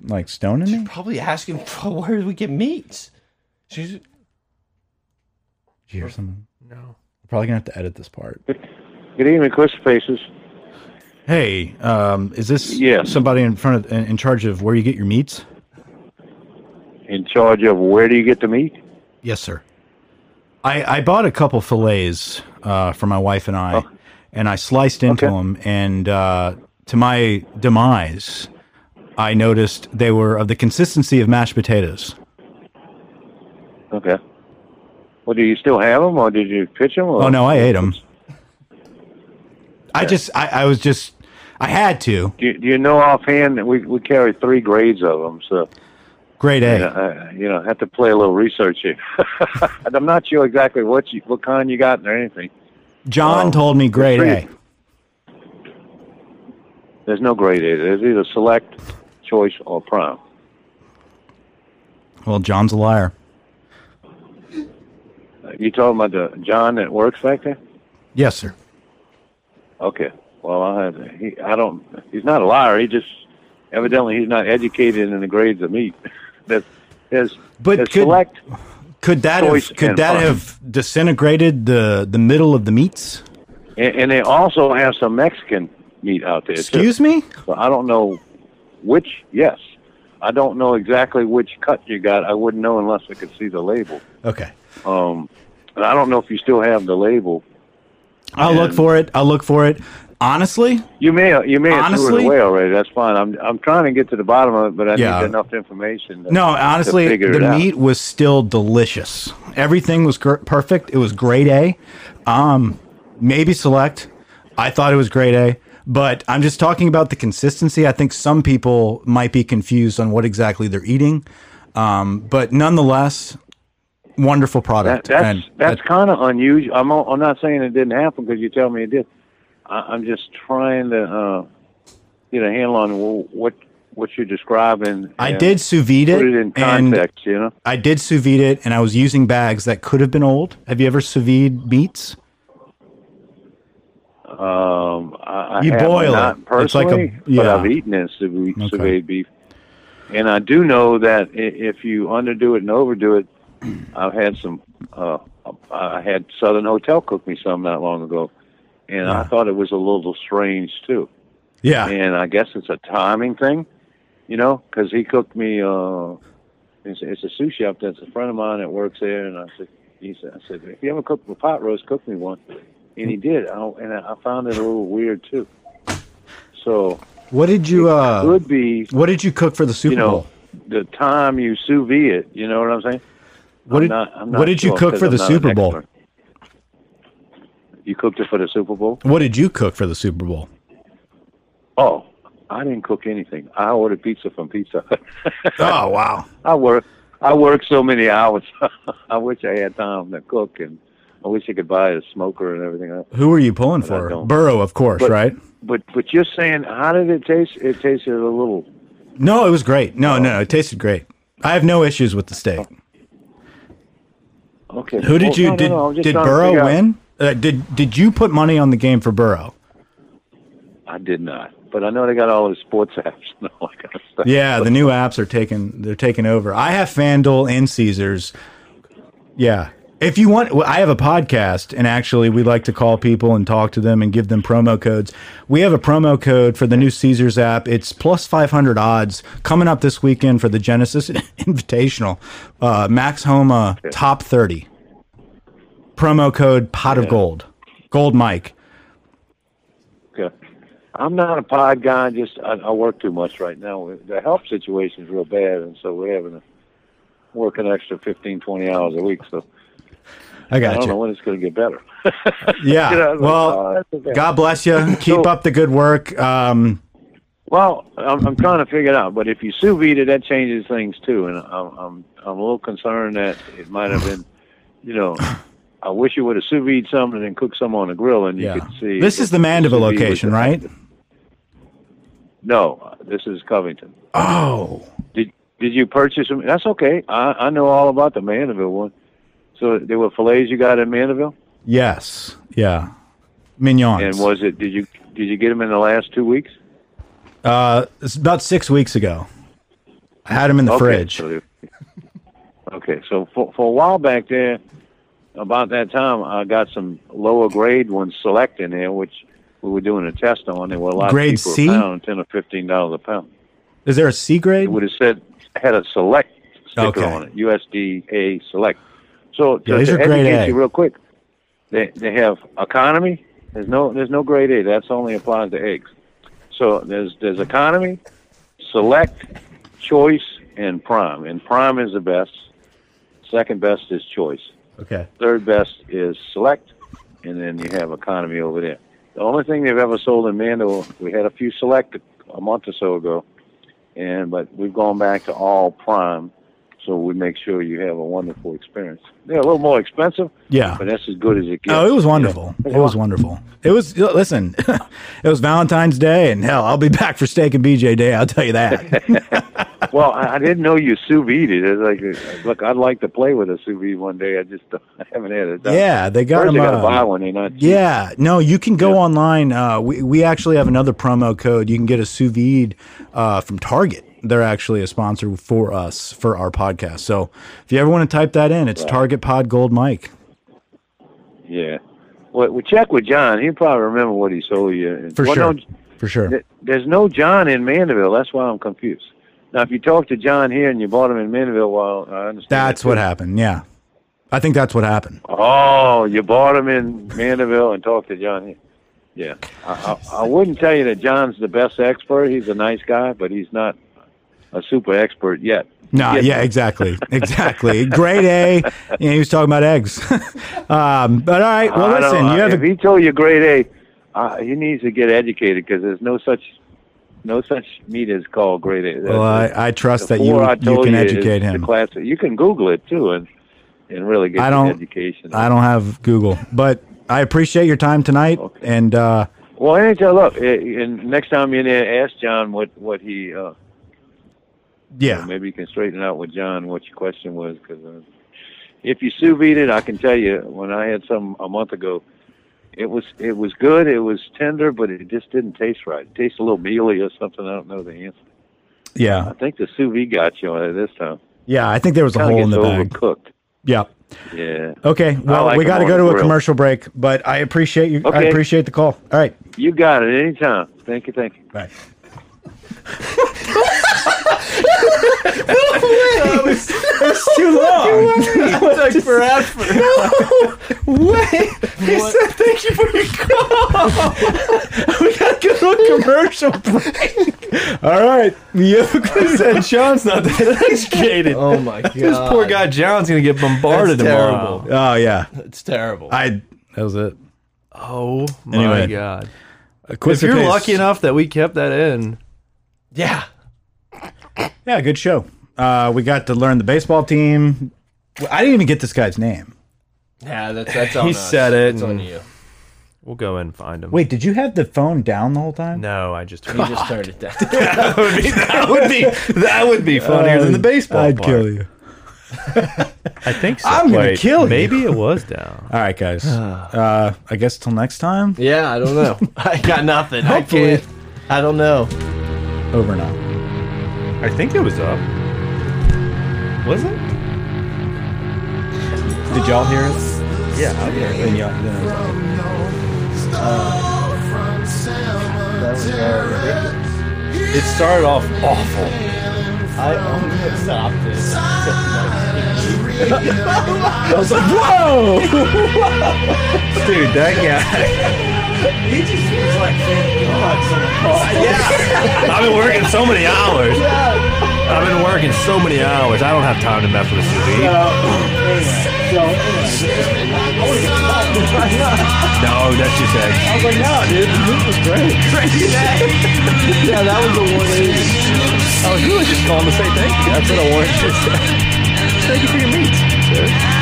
like stoning me? Probably asking where do we get meats. She's Did you hear something? No. We're probably gonna have to edit this part. Good evening, Chris Faces. Hey, um, is this Yeah. somebody in front of in, in charge of where you get your meats? In charge of where do you get the meat? Yes, sir. I, I bought a couple fillets uh, for my wife and I, and I sliced into Oh. Okay. them. And uh, to my demise, I noticed they were of the consistency of mashed potatoes. Okay. Well, do you still have them, or did you pitch them? Or? Oh no, I ate them. I just I, I was just I had to Do you, do you know offhand that we we carry three grades of them? So grade you, know, A. I, you know, have to play a little research here. And I'm not sure exactly what you what kind you got or anything. John um, told me grade three. A. There's no grade either. There's either select, choice, or prime. Well, John's a liar. Uh, You talking about the John that works back there? Yes, sir. Okay. Well, I had he. I don't. He's not a liar. He just evidently he's not educated in the grades of meat. That's his. But his could- select. Could that Choice have, could and that prime. have disintegrated the the middle of the meats? And, and they also have some Mexican meat out there. Excuse me. too. So I don't know which. Yes, I don't know exactly which cut you got. I wouldn't know unless I could see the label. Okay. Um, and I don't know if you still have the label. I'll look And- for it. I'll look for it. Honestly, You may you may have threw Honestly- it away already. That's fine. I'm I'm trying to get to the bottom of it, but I Yeah. need enough information. To, no. to Honestly, figure it the out. meat was still delicious. Everything was gr- perfect. It was grade A. Um, maybe select. I thought it was grade A, but I'm just talking about the consistency. I think some people might be confused on what exactly they're eating. Um, but nonetheless, wonderful That, product. that's And that's that- kind of unusual. I'm not- I'm not saying it didn't happen because you tell me it did. I, I'm just trying to uh, get a handle on wh- what what you're describing. I and did sous vide put it, it in and context. you know, I did sous vide it, and I was using bags that could have been old. Have you ever sous vide meats? um, I, I You have boil not it. It's like a- personally, but yeah. I've eaten it sous vide sous Okay. vide beef, and I do know that i- if you underdo it and overdo it, I've had some. Uh, I I had Southern Hotel cook me some not long ago, and I thought it was a little strange too. Yeah. and I guess it's a timing thing, you know, because he cooked me. Uh, it's, it's a sous chef that's a friend of mine that works there, and I said, he said, I said, if you ever cook a pot roast, cook me one, and he did, I, and I found it a little weird too. So What did you uh could be, what did you cook for the Super you know, Bowl? the time you sous vide it. You know what I'm saying? What I'm did not- I'm what not did you sure cook 'cause for I'm the not an Super Bowl? expert. You cooked it for the Super Bowl? What did you cook for the Super Bowl? Oh, I didn't cook anything. I ordered pizza from Pizza Hut. Oh wow. I work. I work so many hours. I wish I had time to cook, and I wish I could buy a smoker and everything else. Who were you pulling But I for? don't. Burrow, of course, But- right? But but you're saying, how did it taste? It tasted a little No, it was great. No, no, it tasted great. I have no issues with the steak. Okay. Who did Oh, you no, no, did no, I was just did trying to Burrow figure out- win? Uh, did did you put money on the game for Burrow? I did not, but I know they got all the sports apps and all that kind of stuff. Yeah, the new apps are taking they're taking over. I have FanDuel and Caesars. Yeah. If you want, well, I have a podcast, and actually, we like to call people and talk to them and give them promo codes. We have a promo code for the new Caesars app. It's plus 500 odds coming up this weekend for the Genesis Invitational. Uh, Max Homa, top 30. Promo code pot of gold. Gold Mike. Okay. I'm not a pod guy. Just I, I work too much right now. The health situation is real bad, and so we're having to work an extra 15, 20 hours a week. So I got I don't you. know when it's going to get better. Yeah. You know, it's like, uh, well, that's okay. God bless you. Keep up the good work. Um, Well, I'm, I'm trying to figure it out. But if you sous vide it, that changes things too. And I'm, I'm, I'm a little concerned that it might have been, you know, I wish you would have sous vide some and then cooked some on the grill, and you Yeah. could see. This is the Mandeville location, right? No, this is Covington. Oh. Did Did you purchase them? That's okay. I, I know all about the Mandeville one. So there were fillets you got in Mandeville, Yes. Yeah. Mignons. and was it? Did you Did you get them in the last two weeks? Uh, it's about six weeks ago. I had them in the Okay, fridge. so- okay, so for, for a while back there, about that time, I got some lower grade ones select in there, which we were doing a test on. They were a lot Grade cheaper C? a pound, ten or fifteen dollars a pound. Is there a C grade? It would have said had a select sticker Okay. on it, USDA select. So Yeah, to, these to are grade educate A. you real quick, they they have economy. There's no there's no grade A. That's only applies to eggs. So there's there's economy, select, choice, and prime. And prime is the best. Second best is choice. Okay. Third best is select, and then you have economy over there. The only thing they've ever sold in Mandeville, we had a few select a month or so ago, and but we've gone back to all prime, so we make sure you have a wonderful experience. They're a little more expensive, Yeah. but that's as good as it gets. Oh, it was wonderful. It was wonderful. It was listen. it was Valentine's Day, and hell, I'll be back for steak and BJ Day. I'll tell you that. Well, I I didn't know you sous vide it. It's like, look, I'd like to play with a sous vide one day. I just don't- I haven't had it. done. Yeah, they got First, them, I gotta uh, buy one. They're not cheap. yeah. No, you can go online. Uh, we we actually have another promo code. You can get a sous vide uh, from Target. They're actually a sponsor for us for our podcast. So if you ever want to type that in, it's Target Pod Gold Mike. Yeah. Well, we check with John. He'll probably remember what he sold you. For Well, sure. no, For sure. th- there's no John in Mandeville. That's why I'm confused. Now, if you talk to John here and you bought him in Mandeville, well, I understand. That's that, what too. happened. Yeah. I think that's what happened. Oh, you bought him in Mandeville and talked to John here. Yeah. I, I, I wouldn't tell you that John's the best expert. He's a nice guy, but he's not a super expert yet. No, Yeah. yeah, exactly. Exactly. Grade A. You know, he was talking about eggs. um, but all right. Well, I don't- listen, you have if a, he told you grade A, uh, he needs to get educated because there's no such no such meat as called grade A. well, I, I trust that Before you, I you told can you, it's educate the him. class- you can Google it too, and and really get I an don't- education. I don't have Google, but I appreciate your time tonight. And uh, well, anytime, look, eh, and next time you're in there, ask John what what he. Uh, yeah, maybe you can straighten out with John what your question was because uh, if you sous vide it, I can tell you when I had some a month ago. It was it was good. It was tender, but it just didn't taste right. It tastes a little mealy or something. I don't know the answer. yeah, I think the sous vide got you on it this time. yeah. I think there was a Kinda hole in the gets bag. overcooked. Yeah. Yeah. Okay. Well, like we them got to on go the to a grill. commercial break, but I appreciate you. I Okay. appreciate the call. All right. You got it anytime. Thank you. Thank you. Bye. That was, that was too long. It took forever. Wait. He said, "Thank you for your call." we gotta go to a commercial break. All right, you have a good said John's not that educated. Oh my god, This poor guy John's gonna get bombarded That's tomorrow. terrible. Oh yeah, It's terrible. I. That was it. Oh my Anyway. god! A quick if you're pace. lucky enough that we kept that in, yeah. yeah, good show. Uh, we got to learn the baseball team. Well, I didn't even get this guy's name. Yeah, that's that's on He us. said it It's on and- you. We'll go and find him. Wait, did you have the phone down the whole time? No, I just. You just turned it down. that would be that would be that would be funnier than the I'd- baseball. I'd part. kill you. I think so. I'm gonna Wait, kill you. Maybe it was down. All right, guys. uh, I guess till next time. Yeah, I don't know. I got nothing. I can't. I don't know. Over now. I think it was up. Was it? Did y'all hear it? Yeah, I hear it. It started off awful. I almost stopped it. I was like, whoa! Dude, that guy. He just feels like thank God yeah. I've been working so many hours. I've been working so many hours. I don't have time to mess with a sous vide. No, that's just eggs. I was like, no, dude, this was great. yeah, that was a 180. I was really just calling to say thank you. That's what I wanted to say. Thank you for your meat.